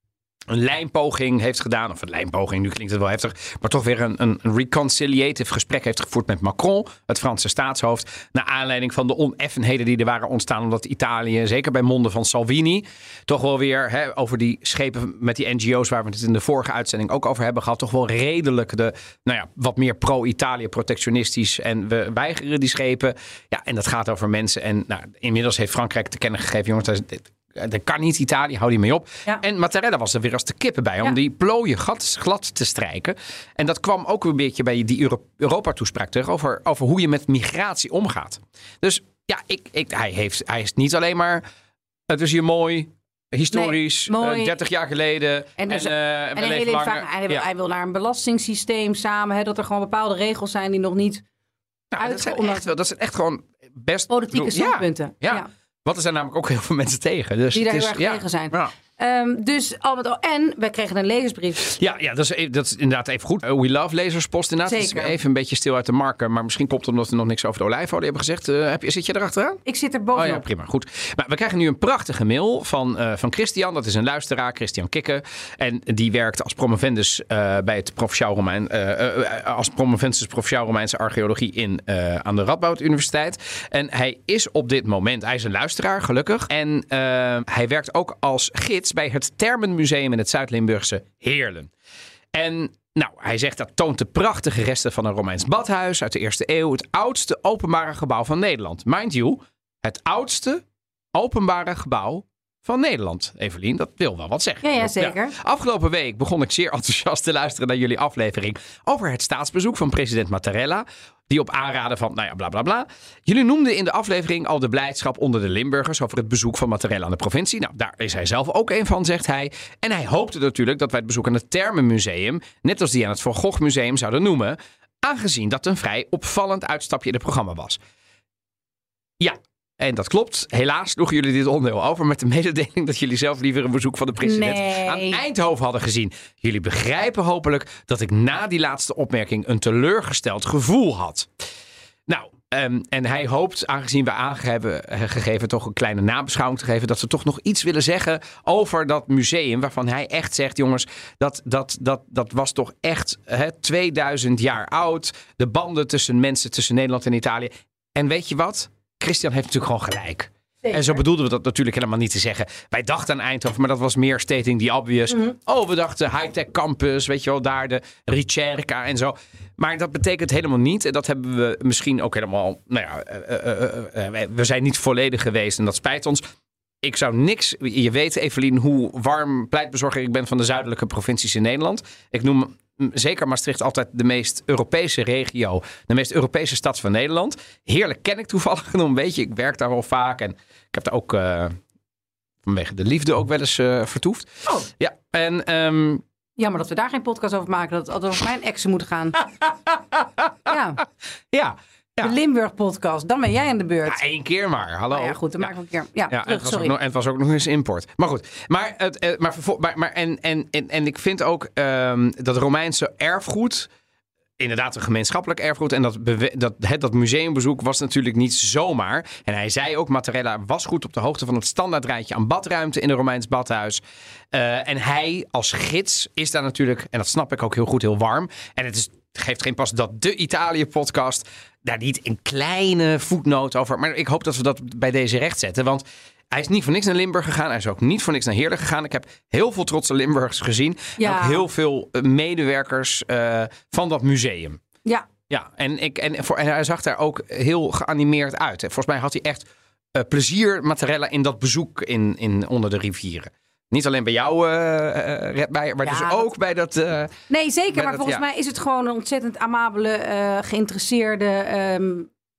een lijnpoging heeft gedaan. Of een lijnpoging, nu klinkt het wel heftig. Maar toch weer een, een een reconciliative gesprek heeft gevoerd met Macron. Het Franse staatshoofd. Naar aanleiding van de oneffenheden die er waren ontstaan. Omdat Italië, zeker bij monden van Salvini. Toch wel weer hè, over die schepen met die NGO's. Waar we het in de vorige uitzending ook over hebben gehad. Toch wel redelijk de, nou ja, wat meer pro-Italië protectionistisch. En we weigeren die schepen. Ja, en dat gaat over mensen. En nou, inmiddels heeft Frankrijk te kennen gegeven. Jongens, dat is- dit- dat kan niet Italië, hou die mee op. Ja. En Mattarella was er weer als de kippen bij om Ja. die plooien gat, glad te strijken. En dat kwam ook weer een beetje bij die Euro- Europa-toespraak terug over, over hoe je met migratie omgaat. Dus ja, ik, ik, hij, heeft, hij is niet alleen maar het is hier mooi, historisch, Nee, mooi. eh, 30 jaar geleden. En, En dus- eh, we En een leven hele langer. vaak- hij, wil, Ja. Nou, hij wil naar een belastingssysteem samen. Hè, dat er gewoon bepaalde regels zijn die nog niet... Nou, dat, zijn uitgeoorloofd- echt, wel- dat zijn echt gewoon best... Politieke bedoel, ja, standpunten. Ja, Ja. want er zijn namelijk ook heel veel mensen tegen. Dus Die daar het is, heel erg ja. tegen zijn. Ja. Ehm, dus al met al... En wij kregen een lezersbrief. Ja, ja dat, is, e- dat is inderdaad even goed. Eh, We love lezerspost inderdaad. Het Zeker. is even een beetje stil uit de marken. Maar misschien komt het omdat we nog niks over de olijfolie hebben gezegd. Eh, heb je, zit je erachteraan? Ik zit er Oh bovenop. ja, prima. Goed. Maar we krijgen nu een prachtige mail van, eh, van Christian. Dat is een luisteraar, Christian Kikke. En die werkt als promovendus eh, bij het Provinciaal Romein. eh, eh, als promovendus Provinciaal Romeinse Archeologie in, eh, aan de Radboud Universiteit. En hij is op dit moment, hij is een luisteraar, gelukkig. En eh, hij werkt ook als gids bij het Termenmuseum in het Zuid-Limburgse Heerlen. En nou, hij zegt dat toont de prachtige resten van een Romeins badhuis uit de eerste eeuw. Het oudste openbare gebouw van Nederland. Mind you, het oudste openbare gebouw van Nederland. Evelien, dat wil wel wat zeggen. Ja, ja, zeker. Afgelopen week begon ik zeer enthousiast te luisteren naar jullie aflevering over het staatsbezoek van president Mattarella. Die op aanraden van, nou ja, bla bla bla. Jullie noemden in de aflevering al de blijdschap onder de Limburgers over het bezoek van Mattarella aan de provincie. Nou, daar is hij zelf ook een van, zegt hij. En hij hoopte natuurlijk dat wij het bezoek aan het Termenmuseum, net als die aan het Van Gogh Museum, zouden noemen. Aangezien dat een vrij opvallend uitstapje in het programma was. Ja, En dat klopt. Helaas sloegen jullie dit onderdeel over met de mededeling dat jullie zelf liever een bezoek van de president Nee. aan Eindhoven hadden gezien. Jullie begrijpen hopelijk dat ik na die laatste opmerking een teleurgesteld gevoel had. Nou, ehm, en hij hoopt, aangezien we aangegeven eh, gegeven toch een kleine nabeschouwing te geven, dat ze toch nog iets willen zeggen over dat museum. Waarvan hij echt zegt, jongens, dat, dat, dat, dat was toch echt hè, 2000 jaar oud. De banden tussen mensen, tussen Nederland en Italië. En weet je wat? Christian heeft natuurlijk gewoon gelijk. En zo bedoelden we dat natuurlijk helemaal niet te zeggen. Wij dachten aan Eindhoven, maar dat was meer stating die obvious. Oh, we dachten high-tech campus, weet je wel, daar de Ricerca en zo. Maar dat betekent helemaal niet, en dat hebben we misschien ook helemaal... Nou ja, eh, eh, eh, eh, wij- we zijn niet volledig geweest en dat spijt ons. Ik zou niks... Je weet, Evelien, hoe warm pleitbezorger ik ben van de zuidelijke provincies in Nederland. Ik noem mm, zeker Maastricht altijd de meest Europese regio. De meest Europese stad van Nederland. Heerlijk ken ik toevallig een beetje. Ik werk daar wel vaak en ik heb daar ook... eh, vanwege de liefde ook wel eens eh, vertoefd. Oh. Ja, en... ehm, Jammer dat we daar geen podcast over maken. Dat het altijd over mijn exen moet gaan. ja, ja, de Ja. Limburg-podcast. Dan ben jij aan de ja, beurt. één keer maar. Hallo. Nou ja, goed, dan maken we een keer. Ja, Ja, en terug, het, was ook sorry. nog, en het was ook nog eens import. Maar goed, maar, het, eh, maar, vervol- maar, maar en, en, en, en ik vind ook ehm, dat Romeinse erfgoed, inderdaad een gemeenschappelijk erfgoed, en dat, bewe- dat, het, dat museumbezoek was natuurlijk niet zomaar. En hij zei ook, Mattarella was goed op de hoogte van het standaardrijtje aan badruimte in een Romeins badhuis. Eh, en hij als gids is daar natuurlijk, en dat snap ik ook heel goed, heel warm. En het is, geeft geen pas dat de Italië-podcast daar niet een kleine voetnoot over. Maar ik hoop dat we dat bij deze recht zetten. Want hij is niet voor niks naar Limburg gegaan. Hij is ook niet voor niks naar Heerlen gegaan. Ik heb heel veel trotse Limburgers gezien. Ja. En ook heel veel eh, medewerkers eh, van dat museum. Ja, Ja, en, ik, en, voor, en hij zag daar ook heel geanimeerd uit. Volgens mij had hij echt eh, plezier, Mattarella, in dat bezoek in, in, onder de rivieren. Niet alleen bij jou, eh eh, Red Meijer, maar Ja, dus dat- ook bij dat... eh, nee, zeker. Maar, Maar dat- volgens ja. mij is het gewoon een ontzettend amabele, eh, geïnteresseerde ehm,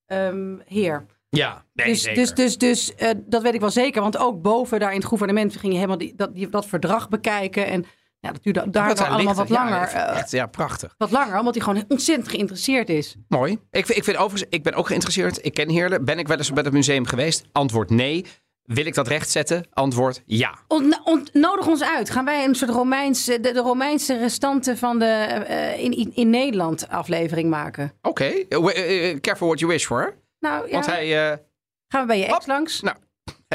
ehm, heer. ja, nee, dus, zeker. dus, dus, dus eh, dat weet ik wel zeker. Want ook boven daar in het gouvernement ging je helemaal die, dat, die- dat verdrag bekijken. En ja, dat duurde daar Wat wel daar allemaal wat ligt, ja, langer. eh, echt, ja, prachtig. wat langer, omdat hij gewoon ontzettend geïnteresseerd is. Mooi. Ik, vind- ik, vind overigens, ik ben ook geïnteresseerd. Ik ken Heerlen. Ben ik wel eens bij het museum geweest? Antwoord nee. Wil ik dat rechtzetten? Antwoord ja. Ont, nou, ont- nodig ons uit. Gaan wij een soort Romeinse, de, de Romeinse restanten van de eh, in, in, in Nederland aflevering maken? Oké. Eh, we- eh, eh, Careful what you wish for. hè? Nou, ja. Want hij, eh, gaan we bij je ex Hop. langs? nou,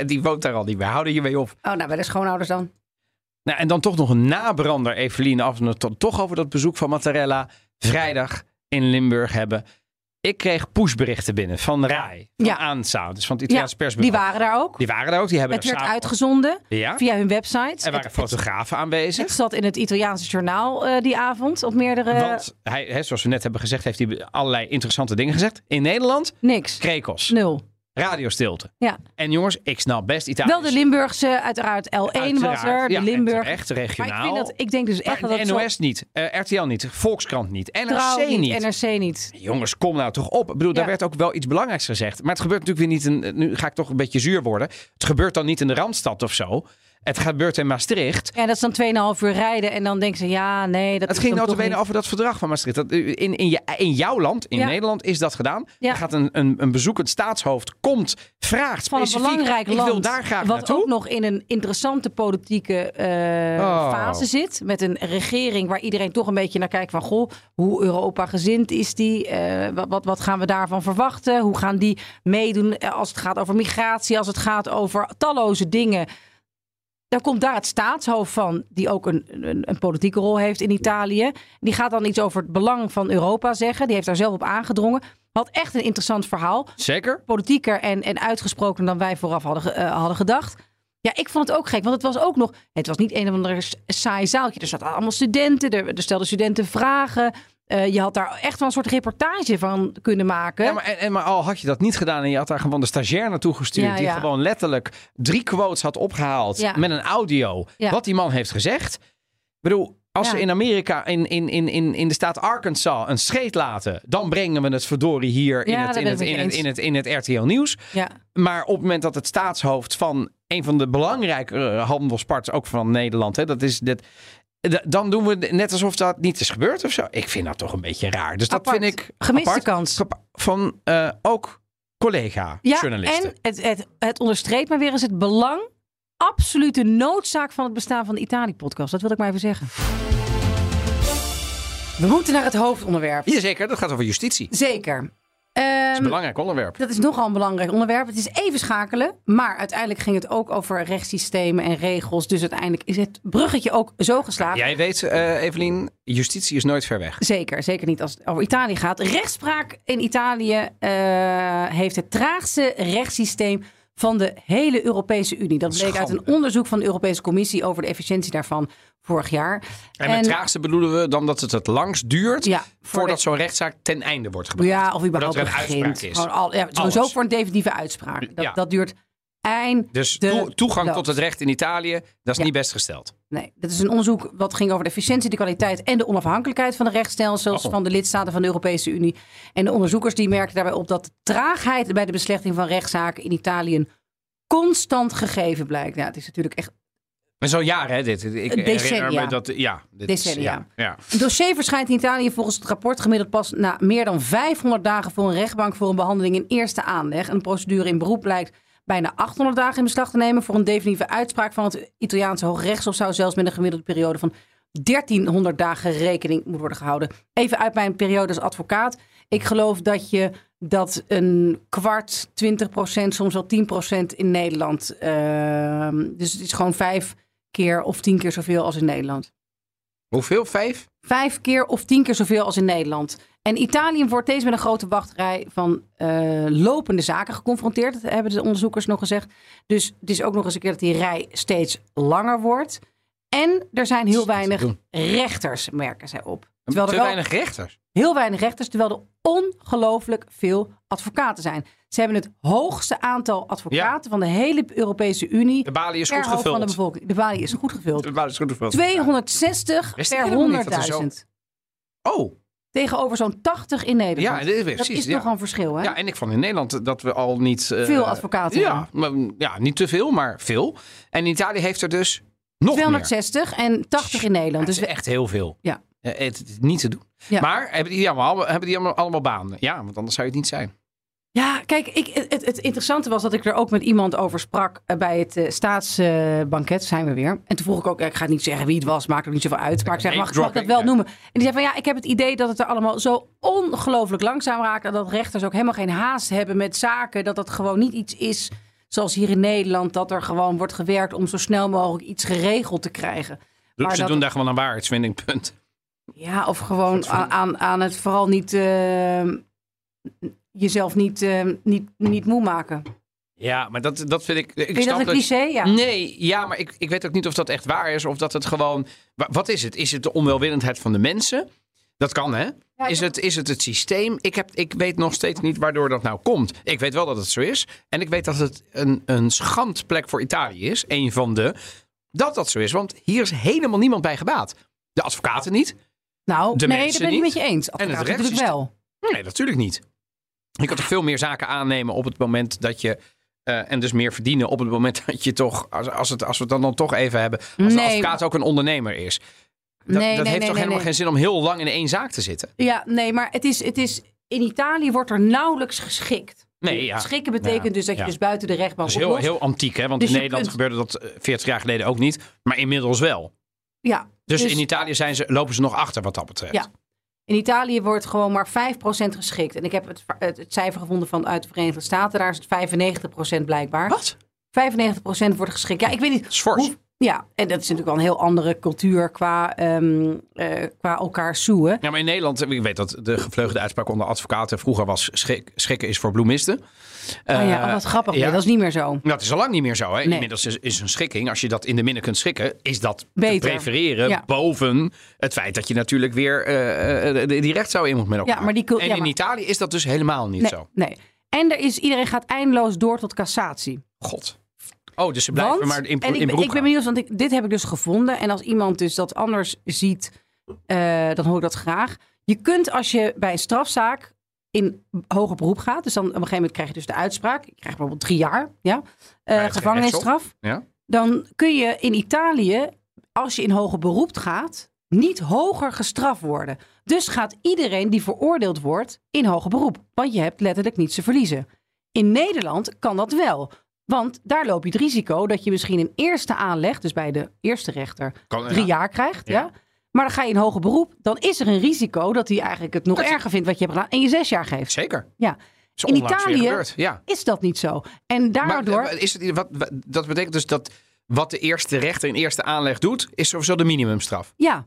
die woont daar al niet meer. Houden je mee op. Oh, nou, bij de schoonouders dan. Nou, en dan toch nog een nabrander, Evelien, af en toe to- toch over dat bezoek van Mattarella. Vrijdag in Limburg hebben. Ik kreeg pushberichten binnen van RAI, van Ja. ANSA, dus van het Ja, Italiaans persbureau. die waren daar ook. Die waren er ook, die hebben Het werd daar samen- uitgezonden Ja, via hun website. er waren Het- het, fotografen aanwezig. het eh, zat in het Italiaanse journaal eh, die avond op meerdere... Want hij, hè, zoals we net hebben gezegd, heeft hij allerlei interessante dingen gezegd. In Nederland, Niks. krekels, Nul. radiostilte. Ja. En jongens, ik snap best Italië. Wel de Limburgse, uiteraard L1 was er, de Limburg. Echt Maar regionaal. ik, vind dat, ik denk dus echt dat nou. Maar dat de zo- NOS niet, eh, RTL niet, Volkskrant niet, NRC Trouw niet. NRC niet. Jongens, kom nou toch op. Ik bedoel, daar Ja. werd ook wel iets belangrijks gezegd. Maar het gebeurt natuurlijk weer niet. In, nu ga ik toch een beetje zuur worden. Het gebeurt dan niet in de Randstad of zo. Het gebeurt in Maastricht. Ja, dat is dan 2,5 uur rijden en dan denken ze, ja, nee, dat Het is ging dan nou toch bene niet. over dat verdrag van Maastricht. Dat, eh, in, in, je, in jouw land, in Ja. Nederland, is dat gedaan. Ja. Er gaat een, een, een bezoekend staatshoofd, komt, vraagt Van een specifiek, belangrijk land, Ik wil daar graag wat naartoe. ook nog in een interessante politieke eh, Oh. fase zit. Met een regering waar iedereen toch een beetje naar kijkt van... goh, hoe Europa gezind is die? Eh, wat, wat, wat gaan we daarvan verwachten? Hoe gaan die meedoen eh, als het gaat over migratie? Als het gaat over talloze dingen... Dan komt daar het staatshoofd van, die ook een, een, een politieke rol heeft in Italië. Die gaat dan iets over het belang van Europa zeggen. Die heeft daar zelf op aangedrongen. Had echt een interessant verhaal Zeker? politieker en, en uitgesprokener dan wij vooraf hadden, ge- eh, hadden gedacht. Ja, ik vond het ook gek, want het was ook nog... Het was niet een of ander s- saai zaaltje. Er zaten allemaal studenten, er, er stelden studenten vragen. Eh, je had daar echt wel een soort reportage van kunnen maken. Ja, maar, en, en, maar al had je dat niet gedaan en je had daar gewoon de stagiair naartoe gestuurd... Ja, die ja. gewoon letterlijk drie quotes had opgehaald Ja. met een audio... Ja. wat die man heeft gezegd. Ik bedoel, als Ja. ze in Amerika, in, in, in, in, in de staat Arkansas, een scheet laten... dan brengen we het verdorie hier Ja, in, het, daar in, ben het, ik in, met het, je in, het, in het RTL Nieuws. Ja. Maar op het moment dat het staatshoofd van een van de belangrijkere handelspartners, ook van Nederland, hè, dat is dit, d- dan doen we het net alsof dat niet is gebeurd of zo. Ik vind dat toch een beetje raar. Dus dat Apart. vind ik Gemiste apart. kans. Gepa- Van eh, ook Ja, collega-journalisten. en het, het, het onderstreept maar weer eens het belang, absolute noodzaak van het bestaan van de Italië-podcast. Dat wil ik maar even zeggen. We moeten naar het hoofdonderwerp. Jazeker, dat gaat over justitie. Dat Zeker. is Ehm, een belangrijk onderwerp. dat is nogal een belangrijk onderwerp. Het is even schakelen, maar uiteindelijk ging het ook over rechtssystemen en regels. Dus uiteindelijk is het bruggetje ook zo geslaagd. Jij weet, eh, Evelien, justitie is nooit ver weg. Zeker, zeker niet als het over Italië gaat. Rechtspraak in Italië eh, heeft het traagste rechtssysteem van de hele Europese Unie. Dat bleek uit een Schande. onderzoek van de Europese Commissie over de efficiëntie daarvan vorig jaar. En met traagste bedoelen we dan dat het het langst duurt Ja, voordat de- zo'n rechtszaak ten einde wordt gebracht. ja, of überhaupt er een uitspraak begint. is. Gewoon al, ja, sowieso Alles. voor een definitieve uitspraak. Dat, Ja. dat duurt eind. Dus de toe- toegang loop. tot het recht in Italië, dat is Ja. niet best gesteld. Nee, dat is een onderzoek wat ging over de efficiëntie, de kwaliteit en de onafhankelijkheid van de rechtsstelsels Oh. van de lidstaten van de Europese Unie. En de onderzoekers die merkten daarbij op dat de traagheid bij de beslechting van rechtszaken in Italië een constant gegeven blijkt. Ja, het is natuurlijk echt. Maar zo'n jaar, hè, dit. Ik herinner Decennia. me dat... Ja, dit Decennia. Is, ja, ja. Een dossier verschijnt in Italië volgens het rapport gemiddeld pas na meer dan 500 dagen voor een rechtbank voor een behandeling in eerste aanleg. Een procedure in beroep blijkt bijna 800 dagen in beslag te nemen. Voor een definitieve uitspraak van het Italiaanse Hoge Rechtshof zou zelfs met een gemiddelde periode van 1300 dagen rekening moeten worden gehouden. Even uit mijn periode als advocaat. Ik geloof dat je dat een kwart, 20 procent, soms wel 10 procent in Nederland. ehm, dus het is gewoon vijf keer of tien keer zoveel als in Nederland Hoeveel? Vijf? vijf keer of tien keer zoveel als in Nederland. En Italië wordt deze met een grote wachtrij van eh, lopende zaken geconfronteerd. Dat hebben de onderzoekers nog gezegd. Dus het is ook nog eens een keer dat die rij steeds langer wordt. En er zijn heel weinig doen. rechters, merken zij op. Terwijl er Te wel weinig rechters. heel weinig rechters, terwijl er ongelooflijk veel advocaten zijn. Ze hebben het hoogste aantal advocaten van de hele Europese Unie. De balie is per goed hoofd van de gevuld. bevolking. De balie is goed gevuld. De balie is goed gevuld. 260 Wist ik per helemaal niet dat er zo- 100.000 Oh, tegenover zo'n 80 in Nederland. ja, dit is dat precies. is ja. nogal een verschil, hè? Ja, en ik vond in Nederland dat we al niet... eh, Veel advocaten Ja, maar, ja, niet te veel, maar veel. En in Italië heeft er dus nog meer. 260 en 80 in Nederland. Dat Dus is echt heel veel. Ja. Eh, het, het is niet te doen. Ja. Maar hebben die, allemaal, hebben die allemaal, allemaal banen? Ja, want anders zou je het niet zijn. ja, kijk, ik, het, het interessante was dat ik er ook met iemand over sprak eh, bij het staatsbanket, zijn we weer. En toen vroeg ik ook, ja, ik ga niet zeggen wie het was, maakt ook niet zoveel uit. Maar ik zeg, mag, mag ik dat wel noemen? En die zei van, ja, ik heb het idee dat het er allemaal zo ongelooflijk langzaam raakt. En dat rechters ook helemaal geen haast hebben met zaken. Dat dat gewoon niet iets is, zoals hier in Nederland, dat er gewoon wordt gewerkt om zo snel mogelijk iets geregeld te krijgen. Maar Ze dat- doen daar gewoon een waarheidsvinding, punt. Ja, of gewoon aan, aan, aan het vooral niet eh, jezelf niet, eh, niet, niet moe maken. Ja, maar dat, dat Hm? vind ik... ik Vind je snap dat een cliché? Ja. Nee, ja, maar ik, ik weet ook niet of dat echt waar is. Of dat het gewoon... wa- Wat is het? Is het de onwelwillendheid van de mensen? Dat kan, hè? Ja, ik Is het, is het het systeem? Ik, heb, ik weet nog steeds niet waardoor dat nou komt. Ik weet wel dat het zo is. En ik weet dat het een, een schandplek voor Italië is. Een van de... Dat dat zo is. Want hier is helemaal niemand bij gebaat. De advocaten niet. Nou, de nee, dat mensen ben ik met niet. je eens. En het het natuurlijk wel. Nee, natuurlijk niet. Je kan toch veel meer zaken aannemen op het moment dat je... eh, en dus meer verdienen op het moment dat je toch... Als, als, het, als we het dan, dan toch even hebben... Als de Nee. advocaat ook een ondernemer is. Dat, nee, dat nee, heeft nee, toch nee, helemaal nee. geen zin om heel lang in één zaak te zitten? Ja, nee, maar het is, het is, in Italië wordt er nauwelijks geschikt. Nee, ja. Nou Schikken betekent Ja, dus dat je ja. dus buiten de rechtbank Dat is heel, oplost. heel antiek, hè? Want Dus in je Nederland kunt- gebeurde dat eh, 40 jaar geleden ook niet. Maar inmiddels wel. Ja, Dus, in Italië zijn ze, lopen ze nog achter wat dat betreft. Ja. In Italië wordt gewoon maar 5% geschikt. En ik heb het, het, het cijfer gevonden vanuit de Verenigde Staten. Daar is het 95% blijkbaar. Wat? 95% wordt geschikt. Ja, ik weet niet. Dat is fors. Hoe- ja, en dat is natuurlijk wel een heel andere cultuur qua, ehm, eh, qua elkaar zoeën. Ja, maar in Nederland, eh, ik weet dat de gevleugelde uitspraak onder advocaten vroeger was: schrik, schrikken is voor bloemisten. oh ja, Eh, oh, wat grappig. ja. Nee, dat is niet meer zo. Dat is al lang niet meer zo. Hè? Nee. Inmiddels is, is een schikking, als je dat in de midden kunt schikken, is dat te Beter. prefereren Ja. boven het feit dat je natuurlijk weer eh, eh, die recht zou in moet met elkaar. maar die cul- en ja, in maar- Italië is dat dus helemaal niet Nee, zo. nee. En er is, iedereen gaat eindeloos door tot cassatie. God. Oh, dus ze blijven Want- maar in, en ik, in ben- beroep ik ben gaan. benieuwd, want ik, dit heb ik dus gevonden. En als iemand dus dat anders ziet, eh, dan hoor ik dat graag. Je kunt als je bij een strafzaak in hoger beroep gaat, dus dan op een gegeven moment krijg je dus de uitspraak. Je krijgt bijvoorbeeld drie jaar ja, eh, geen gevangenisstraf. Ja. Dan kun je in Italië, als je in hoger beroep gaat, niet hoger gestraft worden. Dus gaat iedereen die veroordeeld wordt in hoger beroep. Want je hebt letterlijk niets te verliezen. In Nederland kan dat wel. Want daar loop je het risico dat je misschien een eerste aanleg, dus bij de eerste rechter, Kan, drie ja. jaar krijgt. Ja. Ja. Maar dan ga je in hoger beroep. Dan is er een risico dat hij eigenlijk het nog Dat- erger vindt wat je hebt gedaan. En je zes jaar geeft. Zeker. Ja. Is In onlangs weer Italië- gebeurd, Ja. Is dat niet zo? En Maar daardoor. eh, is het, wat, wat- dat betekent dus dat wat de eerste rechter in eerste aanleg doet, is sowieso de minimumstraf. ja,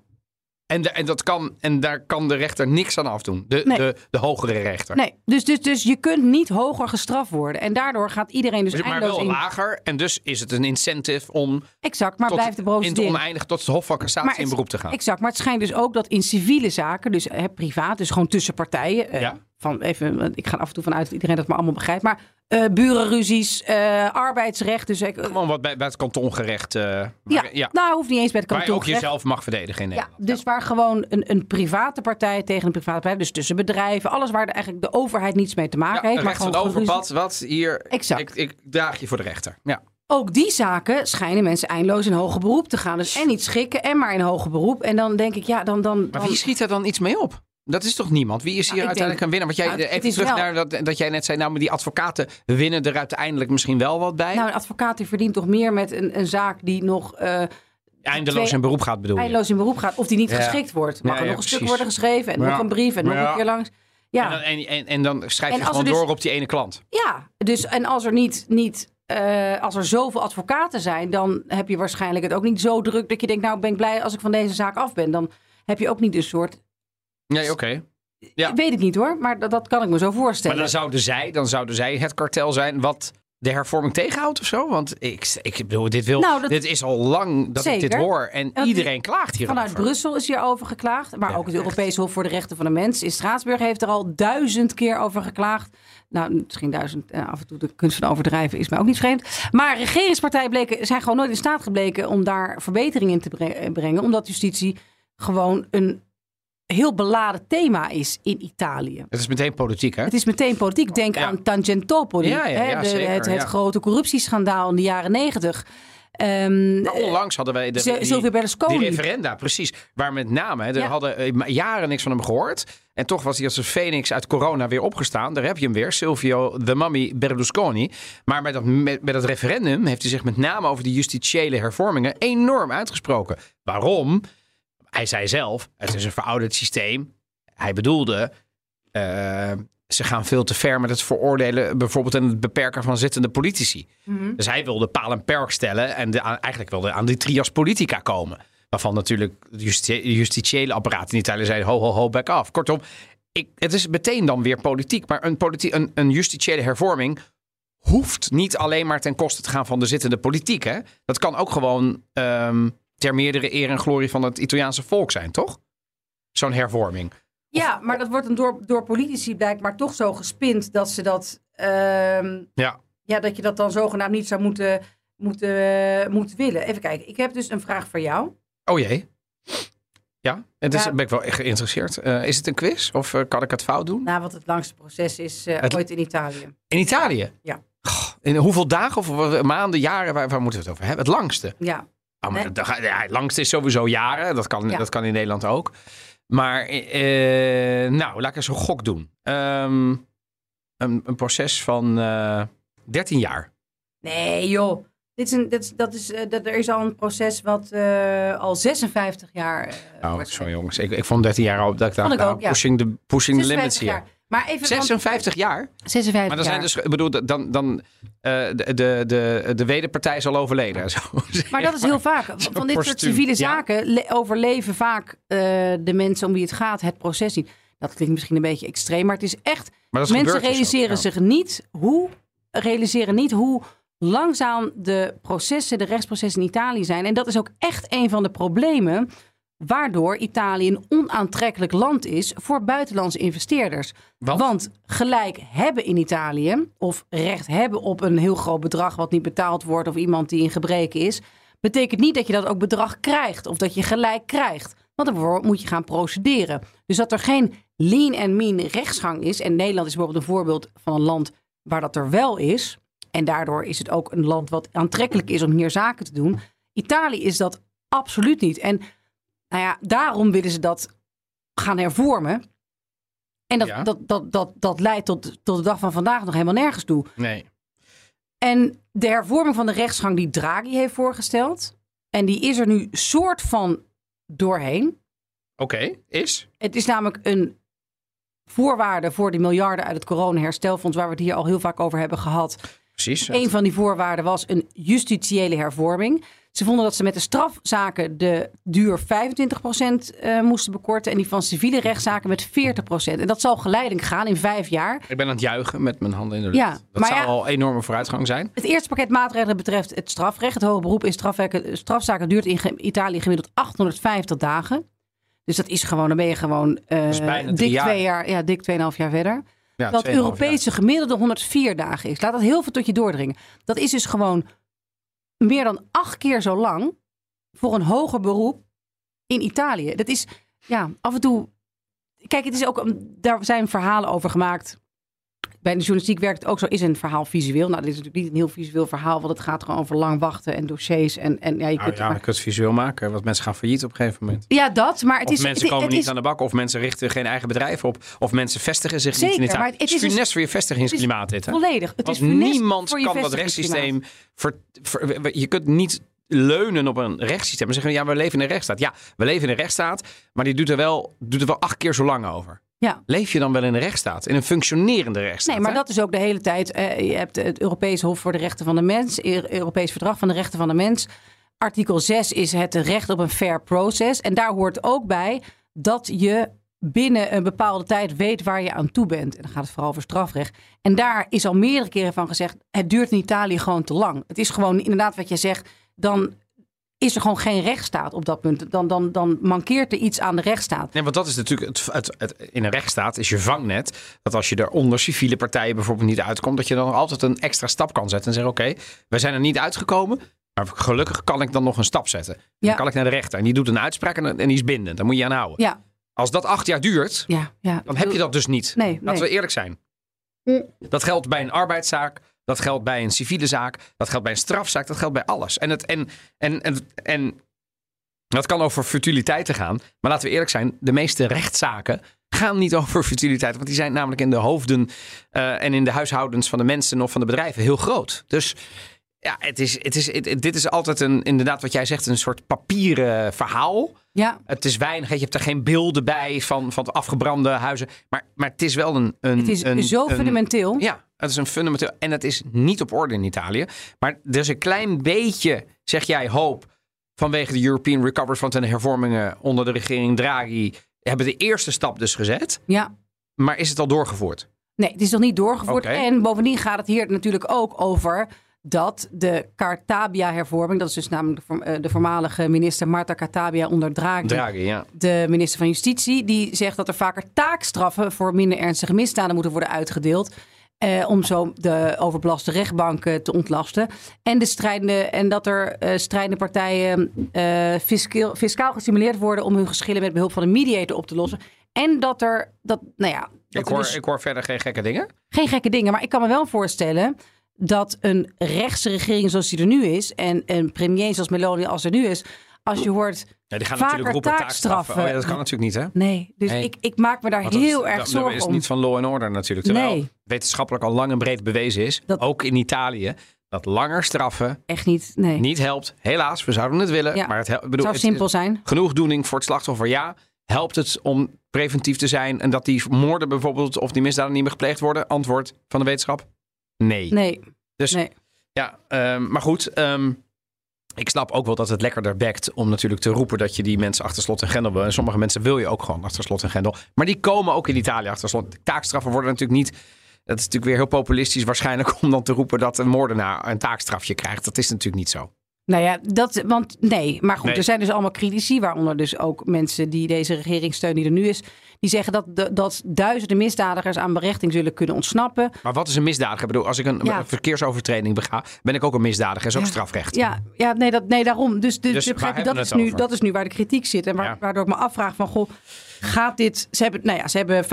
En, de- en, dat kan, en daar kan de rechter niks aan afdoen. De, Nee. de, de hogere rechter. nee. Dus, dus, dus je kunt niet hoger gestraft worden. En daardoor gaat iedereen dus Dus maar eindeloos wel in. lager. En dus is het een incentive om Exact, maar tot, blijft de in het procedure. oneindige tot het Hof van Cassatie Maar in het- beroep te gaan. Exact, maar het schijnt dus ook dat in civiele zaken, dus hè, privaat, dus gewoon tussen partijen. eh, Ja. van even, want ik ga er af en toe vanuit dat iedereen dat maar allemaal begrijpt. Maar eh, burenruzies, eh, arbeidsrecht. Dus, ik- Gewoon wat bij, bij het kantongerecht. eh, waar, ja, ja, nou hoeft niet eens bij het waar je ook kantoor. jezelf mag verdedigen in Ja, Nederland. dus waar gewoon een, een private partij tegen een private partij, dus tussen bedrijven, alles waar de, eigenlijk de overheid niets mee te Ja, maken heeft. Maar recht van gewoon overpad, geruzie- wat hier. Exact. Ik, ik draag je voor de rechter. Ja. Ook die zaken schijnen mensen eindeloos in hoger beroep te gaan. Dus en niet schikken en maar in hoger beroep. En dan denk ik, ja, dan. dan, Maar dan- wie schiet er dan iets mee op? Dat is toch niemand? Wie is hier Nou, ik uiteindelijk denk- een winnaar? Want Nou, jij, eh, het even is terug wel- naar dat, dat jij net zei, nou, maar die advocaten winnen er uiteindelijk misschien wel wat bij. Nou, een advocaat die verdient toch meer met een, een zaak die nog eh, eindeloos twee- in beroep gaat bedoel je? eindeloos in beroep gaat. Of die niet Ja. geschikt wordt. Mag Ja, er ja, nog een stuk precies. worden geschreven en Ja. nog een brief en nog Ja. een keer langs. En, dan, Ja, en, en, en dan schrijf En je als gewoon er dus- door op die ene klant. ja. Dus, en als er niet, niet eh, als er zoveel advocaten zijn, dan heb je waarschijnlijk het ook niet zo druk dat je denkt, nou ben ik blij als ik van deze zaak af ben. Dan heb je ook niet een soort, Nee, oké. Ja. ik weet het niet hoor, maar dat, dat kan ik me zo Maar voorstellen. dan zouden, zij, dan zouden zij het kartel zijn wat de hervorming tegenhoudt of zo? Want ik, ik bedoel, dit, wil, Nou, dat- dit is al lang dat ik dit Zeker. hoor. En die- iedereen klaagt hierover. Vanuit Brussel is hierover geklaagd. Maar Ja, ook het Europees Hof voor de Rechten van de Mens in Straatsburg heeft er al duizend keer over geklaagd. Nou, misschien duizend, eh, af en toe de kunst van overdrijven is mij ook niet vreemd. Maar regeringspartijen bleken, zijn gewoon nooit in staat gebleken om daar verbetering in te bre- eh, brengen. Omdat justitie gewoon een heel beladen thema is in Italië. Het is meteen politiek, hè? Het is meteen politiek. Denk Ja. aan Tangentopoli, Ja, ja, hè, ja, de- zeker, het, het ja. grote corruptieschandaal in de jaren negentig. Ehm Maar onlangs hadden wij de, Sil- Nou, die- Silvio die Berlusconi. referenda, precies. Waar met name, hè, er Ja. hadden eh, ma- jaren niks van hem gehoord. En toch was hij als een phoenix uit corona weer opgestaan. Daar heb je hem weer, Silvio de Mami Berlusconi. Maar met dat, met, met dat referendum heeft hij zich met name over de justitiële hervormingen enorm uitgesproken. Waarom? Hij zei zelf, het is een verouderd systeem. Hij bedoelde, eh, ze gaan veel te ver met het veroordelen bijvoorbeeld en het beperken van zittende politici. Dus hij wilde paal en perk stellen en de, aan- eigenlijk wilde aan die trias politica komen. Waarvan natuurlijk het justi- justitiële apparaat in Italië zei ho ho ho back off. Kortom, ik, het is meteen dan weer politiek. Maar een, politie- een, een justitiële hervorming hoeft niet alleen maar ten koste te gaan van de zittende politiek. Hè? Dat kan ook gewoon ehm, ter meerdere eer en glorie van het Italiaanse volk zijn, toch? Zo'n hervorming. Ja, maar dat wordt dan door, door politici blijkbaar toch zo gespind dat ze dat. ehm, Ja. ja, dat je dat dan zogenaamd niet zou moeten, moeten, eh, moeten willen. Even kijken, ik heb dus een vraag voor jou. Oh jee. Ja, het is, Ja. ben ik wel geïnteresseerd. Eh, is het een quiz of eh, kan ik het fout doen? Na wat het langste proces is eh, Het- ooit in Italië. In Italië? Ja. Goh, in hoeveel dagen of wa- maanden, jaren, waar, waar moeten we het over hebben? Het langste. Ja, Ah, maar Nee. dat- dat ga- ja, het langste is sowieso jaren. Dat kan, Ja. dat kan in Nederland ook. Maar, eh, eh, nou, laat ik eens een gok doen. Ehm, een, een proces van eh 13 jaar. nee joh. Dit is een, dit, is- dat is, eh, dat, er is al een proces wat eh, al 56 jaar. eh, Oh, wordt sorry jongens. Ik, ik vond 13 jaar al dat ik dacht, Vond ik nou, ook, ja. pushing, the, pushing the 56 limits hier. jaar. Maar even. want- 56 jaar? 56 Maar dan zijn jaar. dus, ik bedoel, dan, dan eh, de, de, de, de wederpartij is al overleden. Zo, Maar dat is heel vaak. Van dit soort postuum, civiele ja. zaken le- overleven vaak eh, de mensen om wie het gaat het proces niet. Dat klinkt misschien een beetje extreem, maar het is echt. Maar dat mensen gebeurt dus ook, realiseren ja. zich niet hoe realiseren niet hoe langzaam de processen, de rechtsprocessen in Italië zijn. En dat is ook echt een van de problemen waardoor Italië een onaantrekkelijk land is voor buitenlandse investeerders. Want? gelijk hebben in Italië, of recht hebben op een heel groot bedrag wat niet betaald wordt, of iemand die in gebreken is, betekent niet dat je dat ook bedrag krijgt of dat je gelijk krijgt. Want daarvoor moet je gaan procederen. Dus dat er geen lean en mean rechtsgang is, en Nederland is bijvoorbeeld een voorbeeld van een land waar dat er wel is, en daardoor is het ook een land wat aantrekkelijk is om hier zaken te doen. Italië is dat absoluut niet. En nou ja, daarom willen ze dat gaan hervormen. En dat, Ja. dat, dat, dat, dat leidt tot, tot de dag van vandaag nog helemaal nergens toe. Nee. En de hervorming van de rechtsgang die Draghi heeft voorgesteld. En die is er nu soort van doorheen. Oké, is? Het is namelijk een voorwaarde voor die miljarden uit het coronaherstelfonds, waar we het hier al heel vaak over hebben gehad. Precies. Een van die voorwaarden was een justitiële hervorming. Ze vonden dat ze met de strafzaken de duur 25% eh, moesten bekorten en die van civiele rechtszaken met 40%. En dat zal geleidelijk gaan in vijf jaar. Ik ben aan het juichen met mijn handen in de lucht. Ja, dat maar zou ja- al enorme vooruitgang zijn. Het eerste pakket maatregelen betreft het strafrecht. Het hoger beroep in strafwerken- strafzaken duurt in ge- Italië gemiddeld 850 dagen. Dus dat is gewoon, dan ben je gewoon eh, is bijna drie dik jaar. twee jaar, ja, dik 2,5 jaar verder. Ja, dat 2,5 jaar. Europese gemiddelde 104 dagen is. Laat dat heel veel tot je doordringen. Dat is dus gewoon meer dan acht keer zo lang voor een hoger beroep in Italië. Dat is, ja, af en toe... Kijk, het is ook, een- daar zijn verhalen over gemaakt. Bij de journalistiek werkt het ook zo, is een verhaal visueel. Nou, dit is natuurlijk niet een heel visueel verhaal, want het gaat gewoon over lang wachten en dossiers. En, en ja, je Nou kunt ja, maar- je kunt het visueel maken, want mensen gaan failliet op een gegeven moment. ja, dat, maar het of is... mensen het- komen het niet is- aan de bak, of mensen richten geen eigen bedrijf op, of mensen vestigen zich niet in Zeker, Italië. maar het is is dus- funest voor je vestigingsklimaat dit, hè? Volledig. Het Want is funest niemand voor je kan dat vestigingsklimaat. rechtssysteem... Ver, ver- je kunt niet leunen op een rechtssysteem en zeggen, ja, we leven in een rechtsstaat. Ja, we leven in een rechtsstaat, maar die doet er wel, doet er wel acht keer zo lang over. Ja. Leef je dan wel in een rechtsstaat? In een functionerende rechtsstaat? Nee, maar hè? dat is ook de hele tijd. eh, je hebt het Europees Hof voor de Rechten van de Mens, Eer- Europees Verdrag van de Rechten van de Mens. Artikel 6 is het recht op een fair proces. En daar hoort ook bij dat je binnen een bepaalde tijd weet waar je aan toe bent. En dan gaat het vooral over strafrecht. En daar is al meerdere keren van gezegd, het duurt in Italië gewoon te lang. Het is gewoon inderdaad wat je zegt, dan is er gewoon geen rechtsstaat op dat punt. Dan, dan, dan mankeert er iets aan de rechtsstaat. Nee, want dat is natuurlijk het, het, het- in een rechtsstaat is je vangnet dat als je er onder civiele partijen bijvoorbeeld niet uitkomt, dat je dan nog altijd een extra stap kan zetten en zeggen: oké, we zijn er niet uitgekomen, maar gelukkig kan ik dan nog een stap zetten. Dan Ja. kan ik naar de rechter en die doet een uitspraak en, en die is bindend. Dan moet je aan houden. Ja, Als dat acht jaar duurt, ja, ja. dan heb je dat dus niet. Nee, Laten nee. Hm. we eerlijk zijn. Dat geldt bij een arbeidszaak. Dat geldt bij een civiele zaak. Dat geldt bij een strafzaak. Dat geldt bij alles. En, het, en, en, en, en dat kan over futiliteiten gaan. Maar laten we eerlijk zijn. De meeste rechtszaken gaan niet over futiliteit. Want die zijn namelijk in de hoofden eh, en in de huishoudens van de mensen of van de bedrijven heel groot. Dus ja, het is, het is, het- dit is altijd een, inderdaad wat jij zegt, een soort papieren verhaal. Ja. Het is weinig, hè, je hebt er geen beelden bij van, van de afgebrande huizen. Maar, maar het is wel een... een Het is een, zo een- fundamenteel. Ja, het is een fundamenteel... En het is niet op orde in Italië. Maar er is een klein beetje, zeg jij, hoop... vanwege de European Recovery Fund en de hervormingen onder de regering Draghi... hebben de eerste stap dus gezet. ja. Maar is het al doorgevoerd? Nee, het is nog niet doorgevoerd. Oké. En bovendien gaat het hier natuurlijk ook over dat de Cartabia-hervorming, dat is dus namelijk de, voorm- eh, de voormalige minister Marta Cartabia onder Draghi, Draghi, ja. de minister van Justitie, die zegt dat er vaker taakstraffen voor minder ernstige misdaden moeten worden uitgedeeld. eh, om zo de overbelaste rechtbanken te ontlasten. En, de strijdende, en dat er eh strijdende partijen eh, fiscaal, fiscaal gestimuleerd worden om hun geschillen met behulp van een mediator op te lossen. En dat er, dat, nou ja. dat Ik er hoor, dus- ik hoor verder geen gekke dingen. geen gekke dingen. Maar ik kan me wel voorstellen dat een rechtse regering zoals die er nu is... en een premier zoals Meloni als er nu is... als je hoort... Ja, die gaan Vaker natuurlijk roepen taakstraffen. taakstraffen. Oh ja, dat kan natuurlijk niet, hè? Nee, dus Nee. Ik, ik maak me daar Want heel dat, erg dat zorgen is om. niet van law and order natuurlijk. Terwijl Nee. wetenschappelijk al lang en breed bewezen is, Dat- ook in Italië, dat langer straffen Echt niet, nee. niet helpt. Helaas, we zouden het willen, Ja. maar het, hel- ik het bedoel, zou het- simpel zijn. genoegdoening voor het slachtoffer, ja. Helpt het om preventief te zijn en dat die moorden bijvoorbeeld of die misdaden niet meer gepleegd worden? Antwoord van de wetenschap, nee. Nee, Dus nee. ja, ehm, maar goed. ehm, ik snap ook wel dat het lekkerder bekt om natuurlijk te roepen dat je die mensen achter slot en grendel wil. En sommige mensen wil je ook gewoon achter slot en grendel. Maar die komen ook in Italië achter slot. Taakstraffen worden natuurlijk niet. Dat is natuurlijk weer heel populistisch waarschijnlijk om dan te roepen dat een moordenaar een taakstrafje krijgt. Dat is natuurlijk niet zo. Nou ja, dat, want nee. Maar goed, Nee. er zijn dus allemaal critici, waaronder dus ook mensen die deze regering steunen die er nu is. Die zeggen dat, de- dat duizenden misdadigers aan berechting zullen kunnen ontsnappen. Maar wat is een misdadiger? Ik bedoel, als ik een, Ja. een verkeersovertreding bega, ben ik ook een misdadiger. Is ook Ja. strafrecht. Ja, ja nee, dat, nee, daarom. Dus, de, Dus de- waar hebben dat, we is het nu, over? dat is nu waar de kritiek zit. En waar- Ja. waardoor ik me afvraag van, goh, gaat dit... Ze hebben, nou ja, ze hebben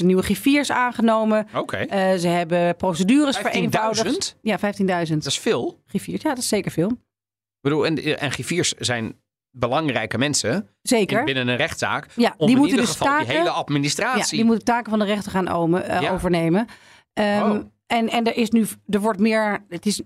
15.000 nieuwe griffiers aangenomen. Oké. Eh, ze hebben procedures 15.000? vereenvoudigd. Ja, 15.000 Dat is veel. griffiers. Ja, dat is zeker veel. Ik bedoel, en, en griffiers zijn belangrijke mensen in- Zeker. binnen een rechtszaak. Ja, om die in moeten ieder dus geval taken. die hele Ja, administratie. die moeten taken van de rechter gaan omen- eh, Ja. overnemen. Ehm, Oh. En, en er, is nu, er wordt meer, het is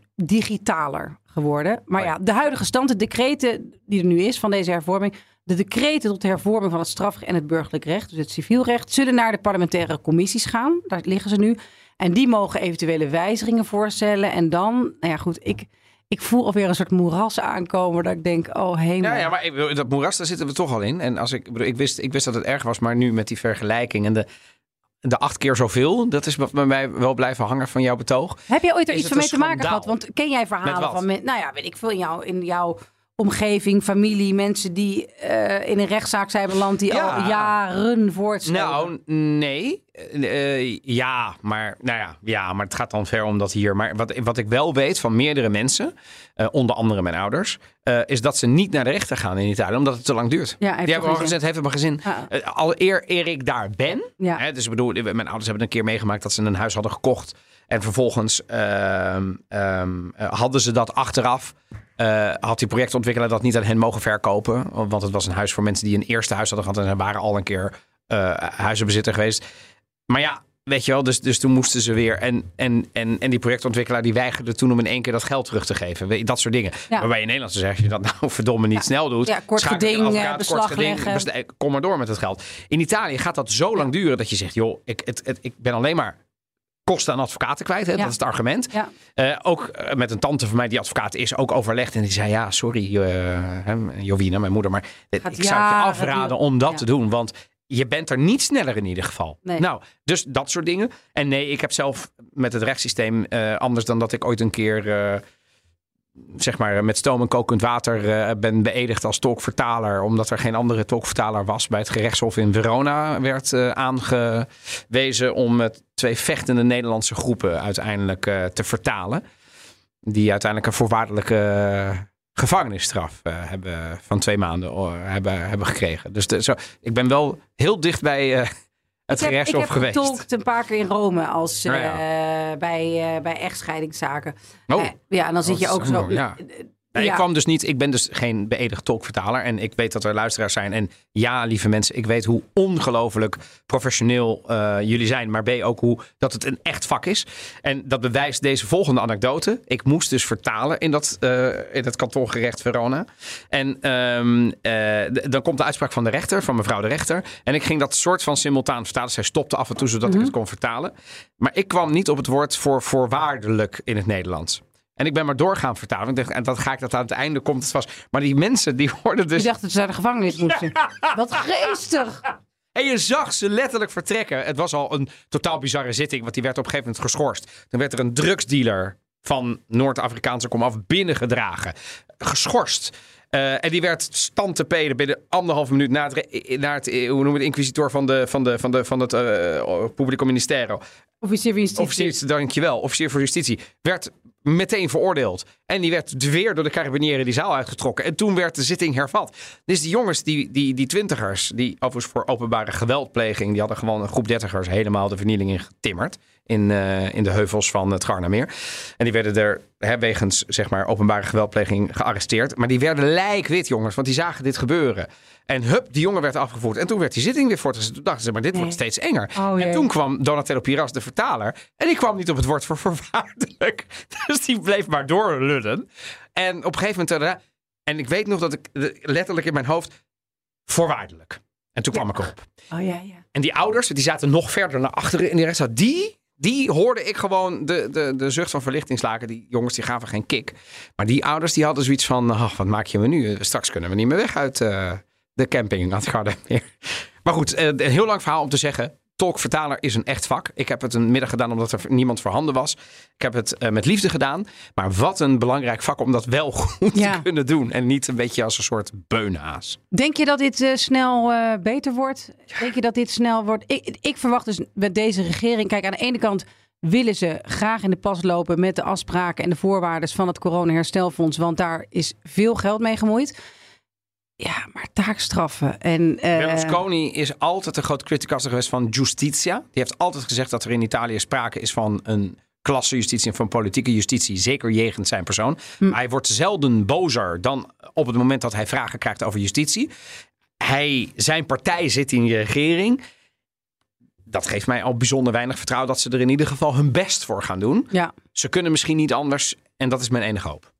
digitaler geworden. Maar Oh ja. ja. de huidige stand, de decreten die er nu is van deze hervorming, de decreten tot de hervorming van het strafrecht en het burgerlijk recht, dus het civielrecht, zullen naar de parlementaire commissies gaan. Daar liggen ze nu. En die mogen eventuele wijzigingen voorstellen. En dan, nou ja, goed, ik, ik voel alweer een soort moeras aankomen dat ik denk, oh hemel. Ja, ja, maar ik bedoel, dat moeras, daar zitten we toch al in. En als ik, ik bedoel, ik, wist, ik wist dat het erg was, maar nu met die vergelijking en de, de acht keer zoveel, dat is wat bij mij wel blijven hangen van jouw betoog. Heb jij ooit er Is iets het van mee een te maken schandaal? gehad? Want ken jij Met verhalen wat? van mensen, nou ja, weet ik veel, in, jou, in jouw omgeving, familie, mensen die eh, in een rechtszaak zijn beland, die Ja. al jaren voortstellen? Nou, nee. Eh, eh, ja, maar, nou ja, ja, maar het gaat dan ver om dat hier. Maar wat, wat ik wel weet van meerdere mensen, eh, onder andere mijn ouders, eh, is dat ze niet naar de rechter gaan in Italië, omdat het te lang duurt. Ja, Die heeft toch hebben al geen zin. gezet, heeft helemaal geen zin. Ja. Eh, al eer, eer ik daar ben. Ja. Hè, dus ik bedoel, mijn ouders hebben het een keer meegemaakt dat ze een huis hadden gekocht. En vervolgens ehm, ehm, eh, hadden ze dat achteraf. eh, had die projectontwikkelaar dat niet aan hen mogen verkopen. Want het was een huis voor mensen die een eerste huis hadden gehad. En ze waren al een keer eh, huizenbezitter geweest. Maar ja, weet je wel, dus, dus toen moesten ze weer. En, en, en, en die projectontwikkelaar die weigerde toen om in één keer dat geld terug te geven. Weet je, Dat soort dingen. Ja. Waarbij in Nederland zegt, als je dat nou verdomme niet snel doet. Ja, kort schakel je geding, een eh, beslag leggen. bes- eh, Kom maar door met het geld. In Italië gaat dat zo lang duren dat je zegt, joh, ik, het, het, ik ben alleen maar kosten aan advocaten kwijt. Hè? Ja. Dat is het argument. Ja. Eh, ook eh, met een tante van mij die advocaat is, ook overlegd. En die zei, ja, sorry, eh, hè, Jovina, mijn moeder. Maar eh, ik Gaat zou het je jaren afraden duren. om dat Ja. te doen. Want je bent er niet sneller in ieder geval. Nee. Nou, dus dat soort dingen. En nee, ik heb zelf met het rechtssysteem eh, anders dan dat ik ooit een keer... eh, zeg maar met stoom en kokend water eh, ben beëdigd als tolkvertaler. Omdat er geen andere tolkvertaler was. Bij het gerechtshof in Verona werd eh, aangewezen om met twee vechtende Nederlandse groepen uiteindelijk eh, te vertalen. Die uiteindelijk een voorwaardelijke eh, gevangenisstraf eh, hebben van twee maanden oh, hebben, hebben gekregen. Dus de- zo, ik ben wel heel dicht bij eh, het ik heb, ik gerechtshof heb geweest. getolkt een paar keer in Rome als, Nou eh, bij, eh, bij echtscheidingszaken. Eh, ja, en dan zit Oh, je dat ook is zo... eh, ook- ja. Nee, Ja. Ik kwam dus niet. Ik ben dus geen beëdigd tolkvertaler. En ik weet dat er luisteraars zijn. En ja, lieve mensen, ik weet hoe ongelooflijk professioneel eh, jullie zijn. Maar B ook hoe dat het een echt vak is. En dat bewijst deze volgende anekdote. Ik moest dus vertalen in dat, eh, in dat kantongerecht Verona. En ehm, eh, d- dan komt de uitspraak van de rechter, van mevrouw de rechter. En ik ging dat soort van simultaan vertalen. Zij stopte af en toe zodat ik het kon vertalen. Maar ik kwam niet op het woord voor voorwaardelijk in het Nederlands. En ik ben maar door gaan vertalen. Ik dacht, en dat ga ik dat aan het einde komt het vast. Maar die mensen die hoorden dus. Je dacht dat ze naar de gevangenis moesten. Wat geestig! En je zag ze letterlijk vertrekken. Het was al een totaal bizarre zitting, want die werd op een gegeven moment geschorst. Dan werd er een drugsdealer van Noord-Afrikaanse komaf binnengedragen. Geschorst. Eh, en die werd stand te peden binnen anderhalf minuut na het, re- na het eh, hoe noem je het, inquisitor van, de, van, de, van, de, van het eh Publico Ministero. Officier van justitie. Officier, dankjewel, officier voor justitie, werd meteen veroordeeld. En die werd weer door de carabinieren die zaal uitgetrokken. En toen werd de zitting hervat. Dus die jongens, die, die, die twintigers, die overigens voor openbare geweldpleging, die hadden gewoon een groep dertigers helemaal de vernieling in getimmerd. In, eh, in de heuvels van het Garnameer. En die werden er hè, wegens zeg maar, openbare geweldpleging gearresteerd. Maar die werden lijkwit, jongens, want die zagen dit gebeuren. En hup, die jongen werd afgevoerd. En toen werd die zitting weer voortgezet. Toen dachten ze, maar dit wordt steeds enger. Oh, jee. en toen kwam Donatello Piras, de vertaler. En die kwam niet op het woord voor voorwaardelijk. Dus die bleef maar doorlullen. En op een gegeven moment... daarna- En ik weet nog dat ik eh, letterlijk in mijn hoofd... Voorwaardelijk. En toen kwam ik erop. Oh ja, ja. En die ouders, die zaten nog verder naar achteren in die rechtszaal. Die, die hoorde ik gewoon de, de, de zucht van verlichtingslaken. Die jongens, die gaven geen kick. Maar die ouders, die hadden zoiets van... "Ach, wat maak je me nu? Eh, Straks kunnen we niet meer weg uit eh, de camping aan het Gardameer. Maar goed, eh, een heel lang verhaal om te zeggen... Tolkvertaler is een echt vak. Ik heb het een middag gedaan omdat er niemand voorhanden was. Ik heb het eh, met liefde gedaan. Maar wat een belangrijk vak om dat wel goed Ja. te kunnen doen. En niet een beetje als een soort beunhaas. Denk je dat dit eh, snel eh, beter wordt? Denk je dat dit snel wordt? Ik, ik verwacht dus met deze regering. Kijk, aan de ene kant willen ze graag in de pas lopen met de afspraken en de voorwaarden van het coronaherstelfonds. Want daar is veel geld mee gemoeid. Ja, maar taakstraffen en. eh, Berlusconi is altijd een groot criticaster geweest van Justitia. Die heeft altijd gezegd dat er in Italië sprake is van een klasse justitie en van politieke justitie zeker jegend zijn persoon. Hm. Maar hij wordt zelden bozer dan op het moment dat hij vragen krijgt over justitie. Hij, zijn partij zit in je regering. Dat geeft mij al bijzonder weinig vertrouwen dat ze er in ieder geval hun best voor gaan doen. Ja. Ze kunnen misschien niet anders en dat is mijn enige hoop.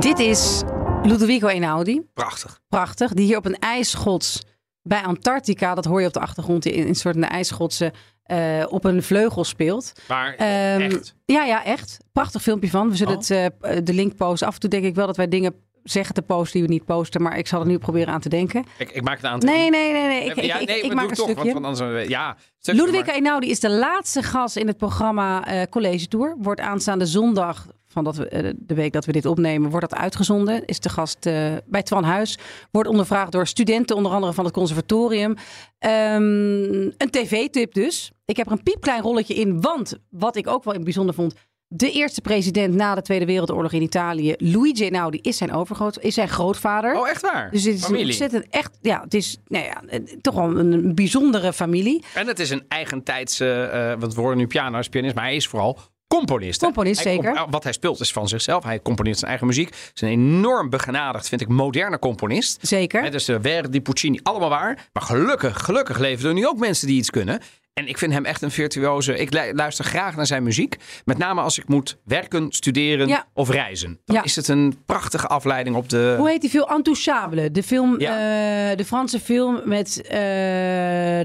Dit is Ludovico Einaudi. Prachtig. Prachtig. Die hier op een ijsschots bij Antarctica, dat hoor je op de achtergrond in een soort ijsschotsen, eh, op een vleugel speelt. Maar Ehm, echt. Ja, ja, echt. Prachtig filmpje van. We zullen Oh. het, eh, de link posten. Af en toe denk ik wel dat wij dingen zeggen te posten die we niet posten. Maar ik zal er nu proberen aan te denken. Ik, ik maak het aan. Nee, nee, nee. nee. Ik, ik, ja, ik, nee, ik maar maak doe toch, een want, stukje. want anders... Ja, stukje, Ludovica maar- Einaudi is de laatste gast in het programma eh, College Tour. Wordt aanstaande zondag, van dat we, eh, de week dat we dit opnemen, wordt dat uitgezonden. Is de gast eh, bij Twan Huis. Wordt ondervraagd door studenten, onder andere van het conservatorium. Ehm, een tv-tip dus. Ik heb er een piepklein rolletje in, want wat ik ook wel bijzonder vond... De eerste president na de Tweede Wereldoorlog in Italië, Luigi Einaudi, is zijn overgroot, is zijn grootvader. Oh, echt waar? dus het is een Familie. ontzettend echt, ja, het is nou ja, eh, toch wel een bijzondere familie. En het is een eigentijdse, eh, want we horen nu piano als pianist, maar hij is vooral componist. hè? Componist, Hij zeker. comp- wat hij speelt is van zichzelf. Hij componeert zijn eigen muziek. Hij is een enorm begenadigd, vind ik, moderne componist. Zeker. Hè, dus eh, Verdi, Puccini, allemaal waar. Maar gelukkig, gelukkig leven er nu ook mensen die iets kunnen. En ik vind hem echt een virtuoze. Ik lu- luister graag naar zijn muziek. Met name als ik moet werken, studeren Ja. of reizen. Dan Ja. is het een prachtige afleiding op de... Hoe heet die film? Intouchable. De film, Ja. eh, de Franse film met eh,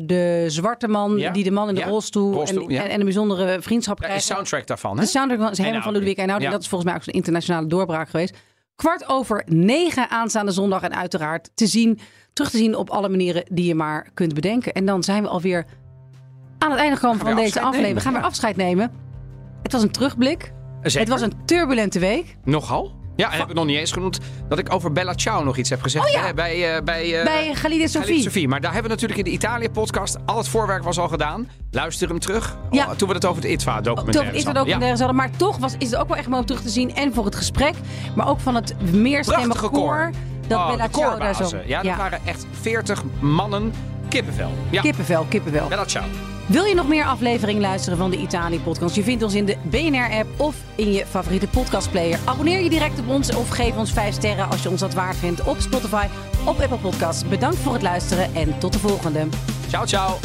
de zwarte man, Ja. die de man in de Ja. rolstoel, Rolstoel, en, ja. en, en een bijzondere vriendschap Ja, is krijgt. soundtrack daarvan, hè? de soundtrack van- is helemaal van Einaudi. Ludwig Einaudi. Ja. Dat is volgens mij ook zo'n internationale doorbraak geweest. Kwart over negen aanstaande zondag en uiteraard te zien, terug te zien op alle manieren die je maar kunt bedenken. En dan zijn we alweer aan het einde gekomen van weer deze afscheid aflevering. nemen, We gaan weer afscheid nemen. Het was een terugblik. Zeker. Dus Het was een turbulente week. Nogal? Ja, en heb ik nog niet eens genoemd dat ik over Bella Ciao nog iets heb gezegd. Oh ja. hè, Bij, eh bij, eh, bij Galide en Khalid Sophie. Sophie. Maar daar hebben we natuurlijk in de Italië-podcast... al het voorwerk was al gedaan. Luister hem terug. Ja. Oh, toen we het over de ITVA-documentaire Toch is dat hadden. ook een Ja. ergens hadden. Maar toch was, is het ook wel echt mooi om terug te zien. En voor het gesprek. Maar ook van het meerstemmige Prachtige koor. koor. Dat Oh, Bella de Ciao daar zo... koorbazen. Ja, dat waren echt 40 mannen kippenvel. Ja, Kippenvel, kippenvel. Bella Ciao. Wil je nog meer afleveringen luisteren van de Italië Podcast? Je vindt ons in de BNR-app of in je favoriete podcastplayer. Abonneer je direct op ons of geef ons 5 sterren als je ons dat waard vindt op Spotify, op Apple Podcasts. Bedankt voor het luisteren en tot de volgende. Ciao, ciao.